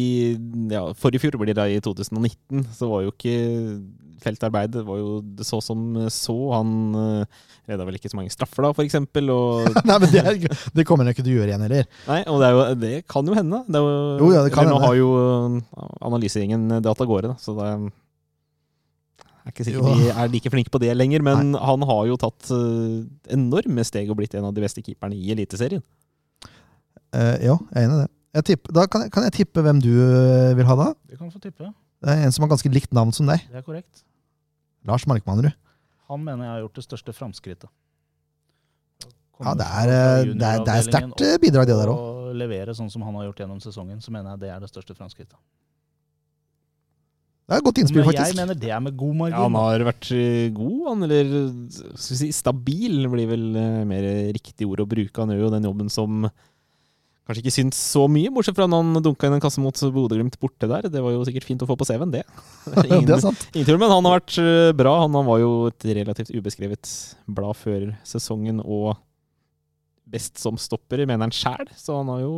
C: ja, forrige fjor, blir det da i 2019, så var jo ikke feltarbeid Det var jo det så som så. Han uh, redda vel ikke så mange straffer da, for eksempel.
A: (laughs)
C: Og,
A: Nei, men det, er, det kommer han ikke til å gjøre igjen heller.
C: nei, og det, er jo, det kan jo hende. Det er jo,
A: Jo, ja, det kan
C: eller
A: hende.
C: Nå har jo eh, analysegjengen data gårde, da, så det er er ikke sikkert
A: Jo.
C: vi er like flinke på det lenger, men han har jo tatt eh, enorme steg og blitt en av de beste keeperne i Eliteserien.
A: Eh, jo, jeg er enig i det. Jeg tipper- da kan jeg, kan jeg tippe hvem du eh, vil ha da?
B: Du kan få tippe.
A: Det er En som har ganske likt navn som deg.
B: Det er korrekt.
A: Lars Markmannrud.
B: Han mener jeg har gjort det største framskrittet.
A: Ja, det er, eh, det er, det er sterkt eh, bidrag, det der òg.
B: Å levere sånn som han har gjort gjennom sesongen, så mener jeg det er det største framskrittet.
A: Det er et godt innspill,
B: Men
A: (laughs)
B: jeg
A: faktisk.
B: mener det er med god
C: Ja, han
B: margin.
C: har vært eh, god, han, eller eh, skal vi si stabil, blir vel eh, mer riktig ord å bruke. Han gjør jo den jobben som kanskje ikke syns så mye, bortsett fra når han dunka inn en kasse mot Bodø-Glimt borte der. Det var jo sikkert fint å få på CV-en,
A: (laughs)
C: det.
A: det er sant.
C: Ingen tvil, men han har vært eh, bra. Han, han var jo et relativt ubeskrevet blad før sesongen, og best som stopper, mener han sjæl. Så han har jo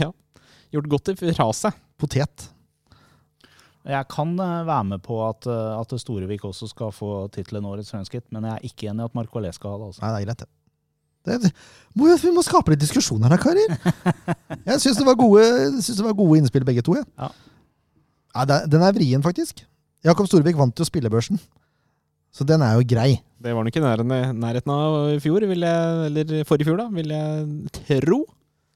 C: ja, gjort godt ifra seg.
A: Potet.
B: jeg kan eh, være med på at, eh, at Storevik også skal få tittelen Årets framskritt, men jeg er ikke enig i at Marcolet skal ha det. altså.
A: Nei, det er greit, det. det må, jo- vi må skape litt diskusjon her, da,
B: (laughs)
A: karer. Jeg syns det, var gode- syns det var gode innspill, begge to. jeg.
B: Ja.
A: Nei, det er- den er vrien, faktisk. Jakob Storvik vant jo spillebørsen, så den er jo grei.
C: Det var han ikke i nærheten- nærheten av i fjor, vil jeg, eller forrige fjor, da, vil jeg tro.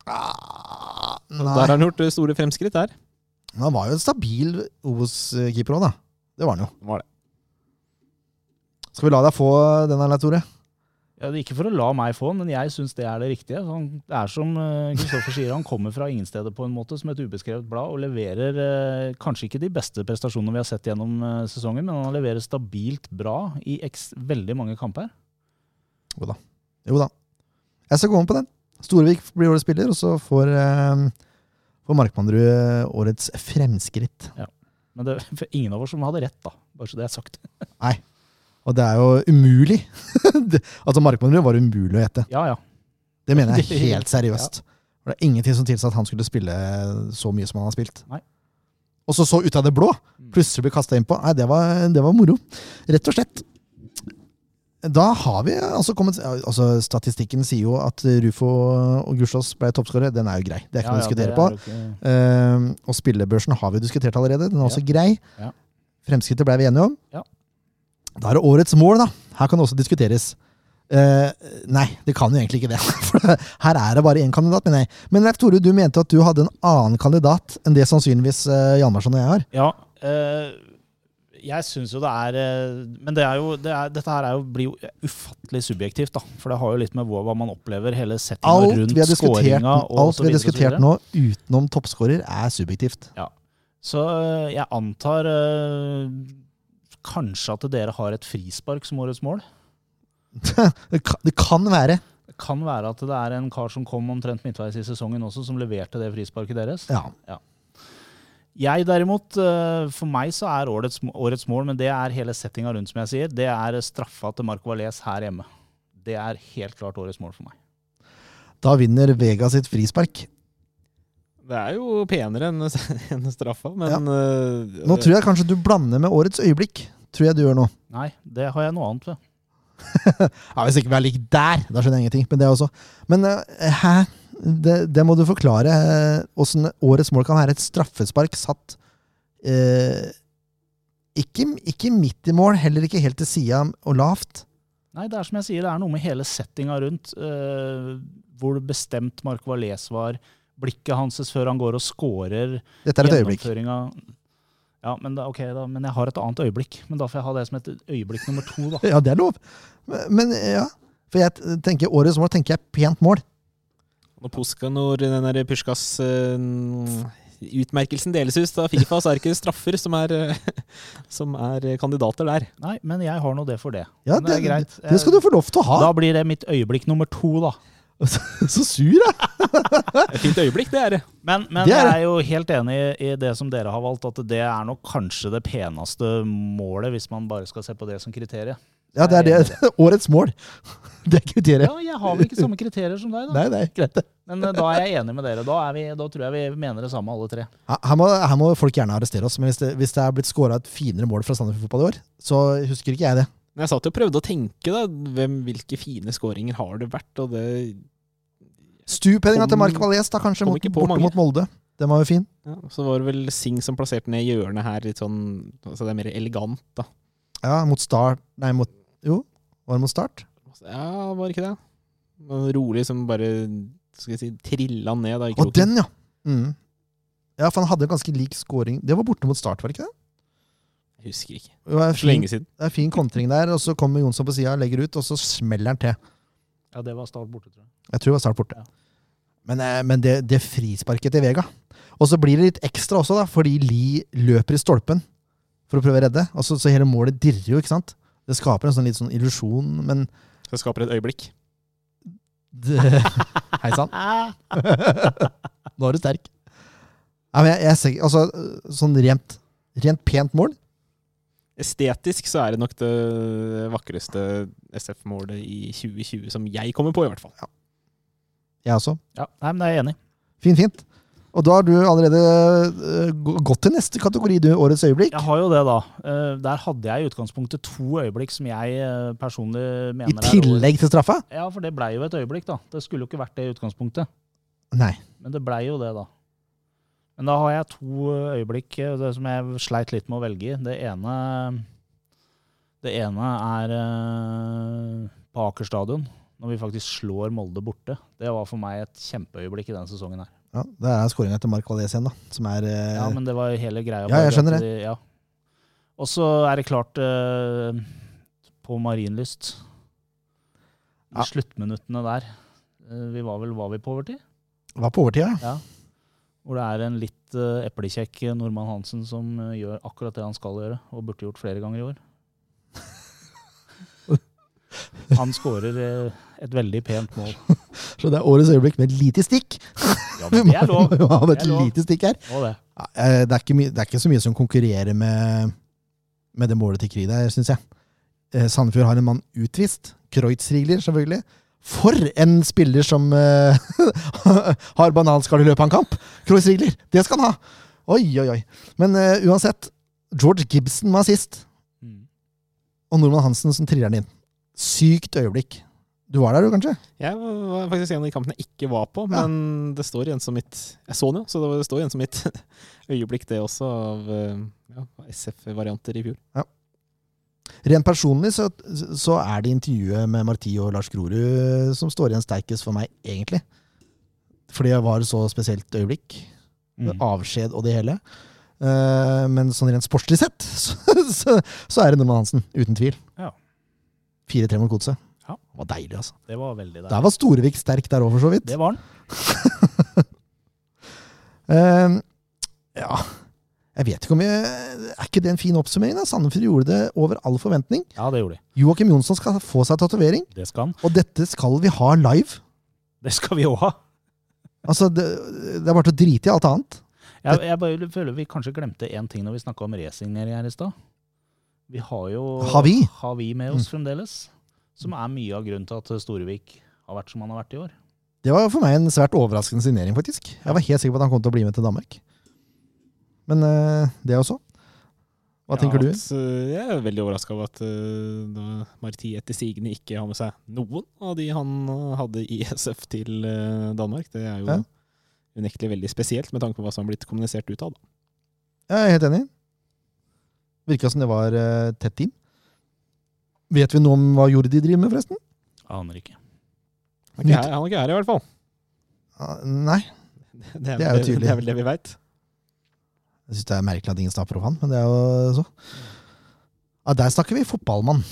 A: Ah,
C: Der
A: Nei.
C: har han gjort store fremskritt der.
A: Men Han var jo en stabil Obos-keeper òg, da. Det var han jo.
C: Var det.
A: Skal vi la deg få den her, Leif Tore?
B: Ja, det er ikke for å la meg få den, men jeg syns det er det riktige. Han det er som eh, Kristoffer sier, han kommer fra ingenstedet på en måte, som et ubeskrevet blad, og leverer eh, kanskje ikke de beste prestasjonene vi har sett gjennom eh, sesongen, men han leverer stabilt bra i eks veldig mange kamper.
A: Jo da. Jeg skal gå med på den. Storvik blir årets spiller, og så får, eh, får Markmannrud årets fremskritt.
B: Men det (laughs) for ingen av oss som hadde rett, da. Bare så det er sagt.
A: Og det er jo umulig. (laughs) Det- altså Markmannrud var umulig å gjette.
B: Ja, ja.
A: Det mener jeg
B: Det-
A: (laughs) helt seriøst. For Det er ingenting som tilsa at han skulle spille så mye som han har spilt.
B: Nei.
A: Og så så ut av det blå. Plutselig ble kasta innpå. Nei, det var, det var moro. Rett og slett. Da har vi altså kommet altså Statistikken sier jo at Rufo og Gustavs ble toppskårere. Den er jo grei. Det er ikke noe å diskutere på. Eh, og spillebørsen har vi jo diskutert allerede. Den er også grei.
B: Ja.
A: Fremskrittet ble vi enige om.
B: Ja.
A: Da er det årets mål, da. Her kan det også diskuteres. Eh, nei, det kan jo egentlig ikke det. (laughs) For det- her er det bare én kandidat, mener jeg. Men Leif Tore, du mente at du hadde en annen kandidat enn det sannsynligvis uh, Hjalmarsson og jeg har.
B: Ja. eh, jeg syns jo det er eh, Men det er jo, det er, dette her er jo, blir jo ufattelig subjektivt, da. For det har jo litt med hva, hva man opplever, hele settinga
A: Alt
B: rundt
A: vi har diskutert,
B: skåringa og
A: alt
B: så
A: vi har
B: videre og så
A: diskutert
B: videre.
A: nå utenom toppskårer, er subjektivt.
B: Så øh, jeg antar øh, kanskje at dere har et frispark som årets mål.
A: Det kan, det kan være.
B: Det kan være at det er en kar som kom omtrent midtveis i sesongen også, som leverte det frisparket deres.
A: Ja.
B: Jeg derimot, øh, for meg så er årets, årets mål, men det er hele settinga rundt, som jeg sier, det er eh, straffa til Marco Valles her hjemme. Det er helt klart årets mål for meg.
A: Da vinner Vega sitt frispark.
C: Det er jo penere enn (laughs) enn straffa, men
A: Ja.
C: eh,
B: Øh.
A: Nå tror jeg kanskje du blander med årets øyeblikk. Tror jeg du gjør nå.
B: Nei, det har jeg noe annet ved.
A: Ja, Hvis ikke vi er lik der, da skjønner jeg ingenting. Men det også. Men eh, hæ? Det, det må du forklare. eh, Åssen årets mål kan være et straffespark satt eh, ikke, ikke midt i mål, heller ikke helt til sida og lavt.
B: Nei, det er som jeg sier, det er noe med hele settinga rundt. øh, hvor bestemt Marco Valles var. Blikket hans før han går og scorer.
A: Dette er et øyeblikk.
B: Gjennomføringa- Ja, men, da, ok da, men jeg har et annet øyeblikk. Men da får jeg ha det som et øyeblikk nummer to,
A: (laughs)
B: da.
A: Ja, det er lov. Men, men eh, ja. For jeg t- tenker årets mål tenker jeg pent mål.
C: Når Puskanor, den der Puskas eh, Utmerkelsen deles ut av Fifa, så er det ikke straffer som er, (laughs) eh, som er kandidater der.
B: Nei, men jeg har nå det for det.
A: Ja,
B: men det er greit. Eh,
A: Det skal du få lov til å ha.
B: Da blir det mitt øyeblikk nummer to, da.
A: (laughs) Så sur, da!
C: Et fint øyeblikk, det er det.
B: Men, men
A: Det er
B: jeg
A: det.
B: er jo helt enig i i det som dere har valgt, at det er nok kanskje det peneste målet, hvis man bare skal se på det som kriterium.
A: Ja, det (laughs) er det. Årets mål. Det er kriteriet.
B: Ja, jeg har vel ikke samme kriterier som deg, da.
A: Nei, nei, greit det.
B: Men eh, da er jeg enig med dere. Da, er vi, da tror jeg vi mener det samme, alle tre.
A: Ja, Her må, her må folk gjerne arrestere oss, men hvis det, hvis det er blitt skåra et finere mål fra Sandefjord fotball i år, så husker ikke jeg det.
C: Men jeg satt jo og prøvde å tenke, da. Hvem, hvilke fine skåringer har det vært? Og det,
A: Stupheadinga til
C: Kom-
A: Mark Valles, da kanskje,
C: kom
A: mot,
C: ikke på
A: borte
C: mange.
A: mot Molde. Den var jo fin.
C: ja, så var det vel Sing som plasserte ned i hjørnet her, litt sånn Altså det er mer elegant, da.
A: Ja, mot Start Nei, mot Jo, var det mot Start?
C: Ja, var det ikke det? Men Rolig som bare skal jeg si, trilla ned da i
A: Og
C: kroken.
A: den, ja! Mm. Ja, for han hadde en ganske lik scoring. Det var borte mot Start, var det ikke det?
C: Jeg husker ikke.
A: Det var
C: Så
A: fin,
C: lenge siden.
A: det er fin kontring der, og så kommer Jonsson på sida, legger ut, og så smeller han til.
B: Ja, det var Start borte, tror jeg.
A: Jeg tror det var snart borte.
B: Ja.
A: Men, eh, men det, det frisparket til Vega. Og så blir det litt ekstra også, da, fordi Lie løper i stolpen for å prøve å redde. Og så, så hele målet dirrer jo, ikke sant? Det skaper en sånn litt sånn illusjon, men
C: Det skaper et øyeblikk.
B: (laughs)
A: Hei sann.
B: Ah.
A: Nå er du sterk. Nei, men jeg, jeg, ser ikke- altså, sånn rent, rent pent mål.
C: Estetisk så er det nok det vakreste SF-målet i 2020 som jeg kommer på, i hvert fall.
A: Jeg også.
B: Ja, nei, men jeg er enig.
A: Fint, fint. Og da har du allerede eh, gå- gått til neste kategori, du. Årets øyeblikk.
B: Jeg har jo det, da. Eh, Der hadde jeg i utgangspunktet to øyeblikk som jeg eh, personlig mener
A: I
B: er over-
A: tillegg til straffa?
B: Ja, for det blei jo et øyeblikk, da. Det skulle jo ikke vært det i utgangspunktet.
A: Nei.
B: Men det blei jo det, da. Men da har jeg to øyeblikk eh, det som jeg sleit litt med å velge i. Det ene Det ene er eh, på Aker stadion, når vi faktisk slår Molde borte. Det var for meg et kjempeøyeblikk i den sesongen her.
A: Ja, det er skåringa til Mark Valais igjen, da. Som er eh,
B: Ja, men det var jo hele greia.
A: Ja,
B: bare
A: jeg
B: at
A: skjønner det.
B: de- Ja. Og så er det klart eh, på Marienlyst. I
A: Ja.
B: sluttminuttene der. eh, vi var vel var vi på overtid?
A: var på overtid, ja.
B: Hvor det er en litt eh, eplekjekk nordmann Hansen som eh, gjør akkurat det han skal gjøre, og burde gjort flere ganger i (laughs) år. Han skårer eh, et veldig pent mål.
A: Så det er årets øyeblikk med et lite stikk.
B: Ja, men (laughs) det er
A: (laughs)
B: lov.
A: Vi må ha
B: Det
A: et
B: er lov.
A: lite stikk her.
B: Og det.
A: Ja, eh, Det er, ikke mye- det er ikke så mye som konkurrerer med, med det målet til Kri der, syns jeg. Eh, Sandefjord har en mann utvist. Kreutzrigler, selvfølgelig. For en spiller som eh, (laughs) har bananskall i løpet av en kamp! Kreutzrigler, det skal han ha! Oi, oi, oi. Men eh, uansett, George Gibson var sist.
B: Mm.
A: og Norman Hansen som triller den inn. Sykt øyeblikk. Du var der, du, kanskje?
C: Jeg var faktisk en av de kampene jeg ikke var på, men det står igjen som mitt Jeg så den jo, så det var- det står igjen som mitt (laughs) øyeblikk, det også, av eh, ja, SF-varianter i fjor.
A: Rent personlig så, så er det intervjuet med Marti og Lars Grorud som står igjen sterkest for meg, egentlig. Fordi det var så spesielt øyeblikk.
B: Mm.
A: Avskjed og det hele. Eh, men sånn rent sportslig sett, (laughs) så, så, så er det Norman Hansen. Uten tvil.
B: Ja.
A: 4-3 mot Godset.
B: Ja.
A: Det var deilig, altså.
B: Det var veldig der.
A: Der var Storevik sterk der òg, for så vidt.
B: Det var han.
A: Eh, ja Jeg vet ikke om jeg Er ikke det en fin oppsummering? da? Sandefjord gjorde det over all forventning.
B: Ja, det gjorde de.
A: Joakim Jonsson skal få seg tatovering,
B: Det skal han.
A: og dette skal vi ha live.
B: Det skal vi òg ha.
A: Altså, det, det er bare til å drite i alt annet.
B: Jeg, jeg bare føler vi kanskje glemte én ting når vi snakka om racing her i stad. Vi har jo
A: Har vi?
B: har vi Mm. med oss fremdeles. Som er mye av grunnen til at Storevik har vært som han har vært i år.
A: Det var for meg en svært overraskende signering, faktisk. Jeg var helt sikker på at han kom til å bli med til Danmark. Men eh, det også. Hva tenker du?
C: At, eh, jeg er veldig overraska over at eh, da Marti etter sigende ikke har med seg noen av de han eh, hadde i SF til eh, Danmark. Det er jo
A: Ja.
C: unektelig veldig spesielt, med tanke på hva som har blitt kommunisert ut av. Da.
A: Jeg er helt enig. Virka som det var eh, tett team. Vet vi noe om hva Jordi driver med, forresten?
B: Aner ikke.
C: Han er ikke her- han er ikke her, i hvert fall.
A: Ah, nei.
C: (laughs) Det
A: Det er jo
C: vel
A: tydelig.
C: Det er vel det vi veit.
A: Jeg syns det er merkelig at ingen snapper opp han, men det er jo så. Ja, der snakker vi fotballmann.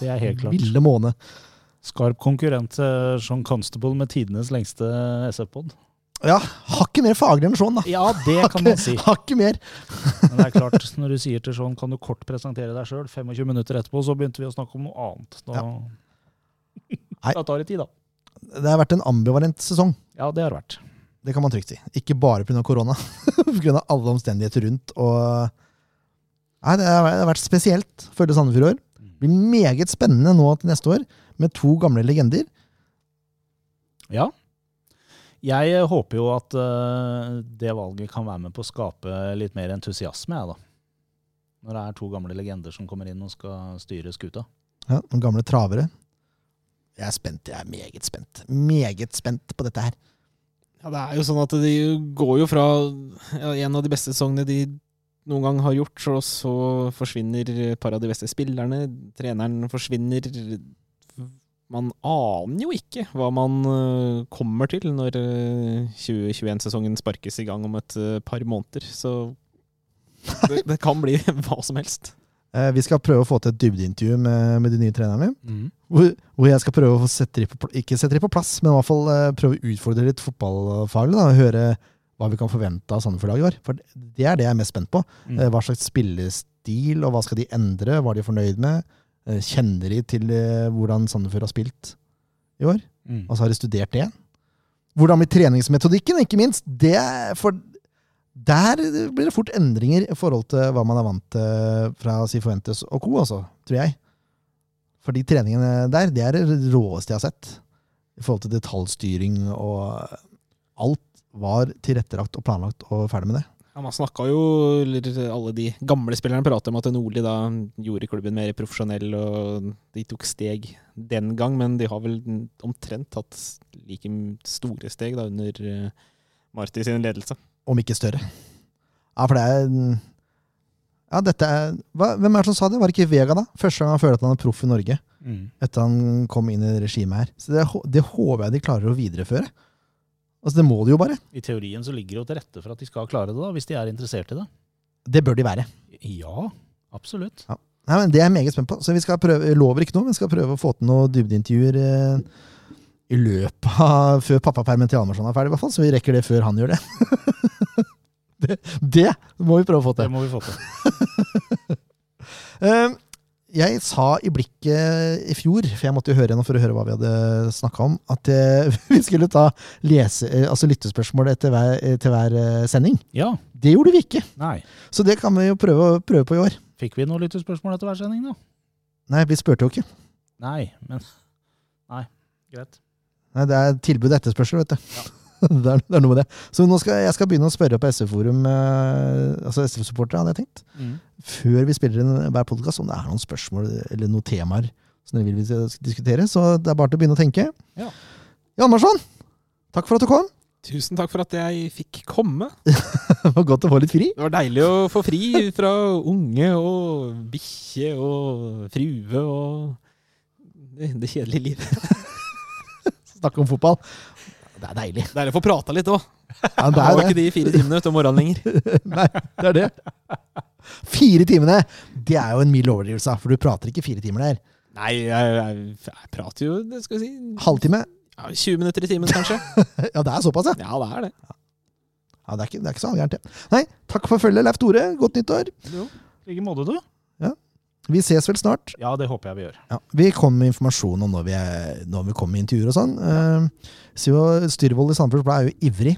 B: Det er helt klart.
A: Ville måne.
B: Skarp konkurrent til John Constable med tidenes lengste SF-pod.
A: Ja, hakket mer faglig enn Sean, da.
B: Ja, (laughs) det kan man si.
A: Hakket mer.
B: Men det er klart, når du sier til Sean kan du kort presentere deg sjøl, 25 minutter etterpå så begynte vi å snakke om noe annet. Da,
A: Nei.
B: (laughs) da tar det tid, da.
A: Det har vært en ambivalent sesong.
B: Ja, det har det vært.
A: Det kan man trygt si. Ikke bare pga. korona, (laughs) pga. alle omstendigheter rundt. Og Nei, det har det har vært spesielt, følge Sandefjord i år.
B: Mm.
A: Blir meget spennende nå til neste år, med to gamle legender.
B: Ja. Jeg eh, håper jo at eh, det valget kan være med på å skape litt mer entusiasme, jeg, da. Når det er to gamle legender som kommer inn og skal styre skuta.
A: Ja, noen gamle travere. Jeg er spent. Jeg er meget spent. Meget spent på dette her.
C: Ja, det er jo sånn at de går jo fra ja, en av de beste sesongene de noen gang har gjort, så, så forsvinner et par av de beste spillerne, treneren forsvinner Man aner jo ikke hva man øh, kommer til når 2021-sesongen sparkes eh, i gang om et øh, par måneder, så det, det kan bli (laughs) hva som helst.
A: Eh, vi skal prøve å få til et dybdeintervju med, med de nye trenerne.
B: Mm.
A: Hvor, hvor jeg skal prøve å få sette de på, pl- ikke sette de på plass, men i hvert fall eh, prøve å utfordre litt fotballfaglig. da, og Høre hva vi kan forvente av Sandefjord-laget vårt. For det er det jeg er mest spent på.
B: Mm.
A: Eh, Hva slags spillestil, og hva skal de endre? Hva er de fornøyd med? Eh, Kjenner de til eh, hvordan Sandefjord har spilt i år?
B: Mm.
A: Altså har de studert det? Hvordan blir treningsmetodikken, ikke minst? Det, er- for der blir det fort endringer i forhold til hva man er vant til fra Sifuentes og co., altså, tror jeg. For de treningene der, det er det råeste jeg har sett. I forhold til detaljstyring og Alt var tilrettelagt og planlagt og ferdig med det.
C: Ja, man snakka jo, eller alle de gamle spillerne prater om at Nordli da gjorde klubben mer profesjonell, og de tok steg den gang, men de har vel omtrent tatt like store steg da under eh, Marti sin ledelse.
A: Om ikke større. Ja, for det er Ja, dette er hva, Hvem er det som sa det? Var det ikke Vega, da? Første gang han føler at han er proff i Norge.
B: Mm.
A: Etter han kom inn i regimet her. Så det, hå- det håper jeg de klarer å videreføre. Altså, det må de jo bare.
B: I teorien så ligger det jo til rette for at de skal klare det, da, hvis de er interessert i det.
A: Det bør de være.
B: Ja, absolutt.
A: Nei, men Det er jeg meget spent på. Så vi skal prøve, jeg lover ikke noe, men vi skal prøve å få til noen dybdeintervjuer eh, i løpet av Før pappapermen til Hjalmarsson er ferdig, i hvert fall. Så vi rekker det før han gjør det. (laughs) det. Det må vi prøve å få til.
B: Det må vi få til.
A: Eh, Jeg sa i blikket i fjor, for jeg måtte jo høre gjennom for å høre hva vi hadde snakka om, at eh, (laughs) vi skulle ta lese, eh, altså lyttespørsmål etter hver, eh, til hver eh, sending.
B: Ja.
A: Det gjorde vi ikke,
B: Nei.
A: så det kan vi jo prøve, å- prøve på i år.
B: Fikk vi noe lyttespørsmål etter hver sending, da?
A: Nei, vi spurte jo ikke.
B: Nei, men Nei, greit.
A: Nei, det er tilbud og etterspørsel, vet du. (laughs) det, er, det er noe med det. Så nå skal jeg skal begynne å spørre på SF-forum, eh, altså SF-supportere, hadde jeg tenkt.
B: Mm.
A: før vi spiller inn hver podkast, om det er noen spørsmål eller noen temaer som dere vil vi skal diskutere. Så det er bare til å begynne å tenke.
B: Ja.
A: Hjalmarsson, takk for at du kom. (laughs)
C: Tusen takk for at jeg fikk komme.
A: Det var godt å få litt fri.
C: Det var deilig å få fri fra unge og bikkje og frue og det, det kjedelige livet.
A: Snakke om fotball. Det er deilig.
C: Deilig å få prata litt òg.
A: Ja,
C: Det
A: (laughs) det
C: var
A: er
C: ikke
A: det.
C: de fire timene ute om morgenen lenger.
A: Nei, det er det. (laughs) Fire timene! Det er jo en mild overdrivelse, for du prater ikke fire timer der.
C: Nei, jeg, jeg, jeg prater jo, det skal vi si,
A: Halvtime?
C: Ja, 20 minutter i timen, kanskje.
A: Ja, det er såpass, ja.
C: (laughs) Ja, det er det.
A: ja det, er ikke, det er ikke så gærent, det. Nei, takk for følget, Leif Tore. Godt nyttår.
B: I like måte, du.
A: Vi ses vel snart.
B: Ja, det håper jeg vi gjør.
A: Ja, vi kom med informasjon om når vi, er, når vi kom med intervjuer og sånn. Eh, så jo, Styrvold i Sandefjords Blad er jo ivrig.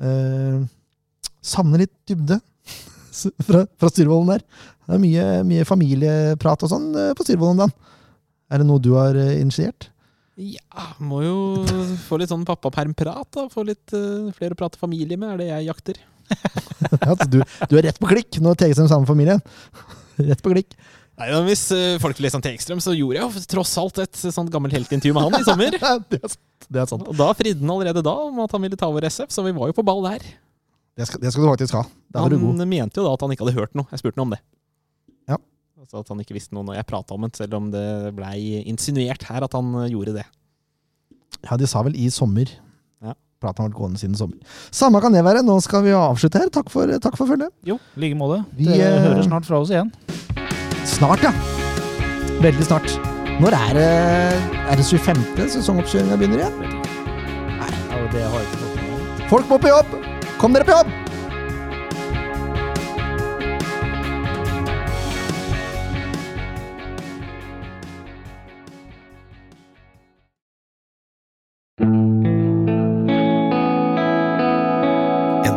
A: Eh, savner litt dybde (laughs) s- fra, fra Styrvolden der. Det er mye, mye familieprat og sånn eh, på Styrvolden. Dan. Er det noe du har eh, initiert? (laughs)
C: Ja, må jo få litt sånn pappapermprat, da. Få litt eh, flere å prate familie med, er det jeg jakter.
A: At altså, du, du er rett på klikk når Tegestrøm sammen med familien. (laughs) Rett på klikk.
C: Nei, men Hvis eh, folk leser om Tegstrøm, så gjorde jeg jo tross alt et eh, sånt gammelt heltintervju med han i (laughs) sommer.
A: Ja, det, er, sant, det er sant.
C: Sånn, Og da fridde han allerede da om at han ville ta over SF, så vi var jo på ball der.
A: Det skal, det skal du faktisk ha. Der var du god.
C: Han mente jo da at han ikke hadde hørt noe. Jeg spurte ham om det.
A: Ja.
C: Altså At han ikke visste noe når jeg prata om det, selv om det blei insinuert her at han eh, gjorde det.
A: Ja, de sa vel i sommer.
C: Ja.
A: Praten har vært gående siden sommer. Samme kan det være. Nå skal vi avslutte her. Takk for, takk for følget.
B: Jo, i like måte.
A: Vi,
B: Dere
A: eh,
B: hører snart fra oss igjen.
A: Snart, ja. Veldig snart. Når er det Er det 25. sesongoppkjøringa begynner igjen?
B: Ja, og det har jeg ikke fått med meg.
A: Folk må på jobb! Kom dere på jobb!
E: En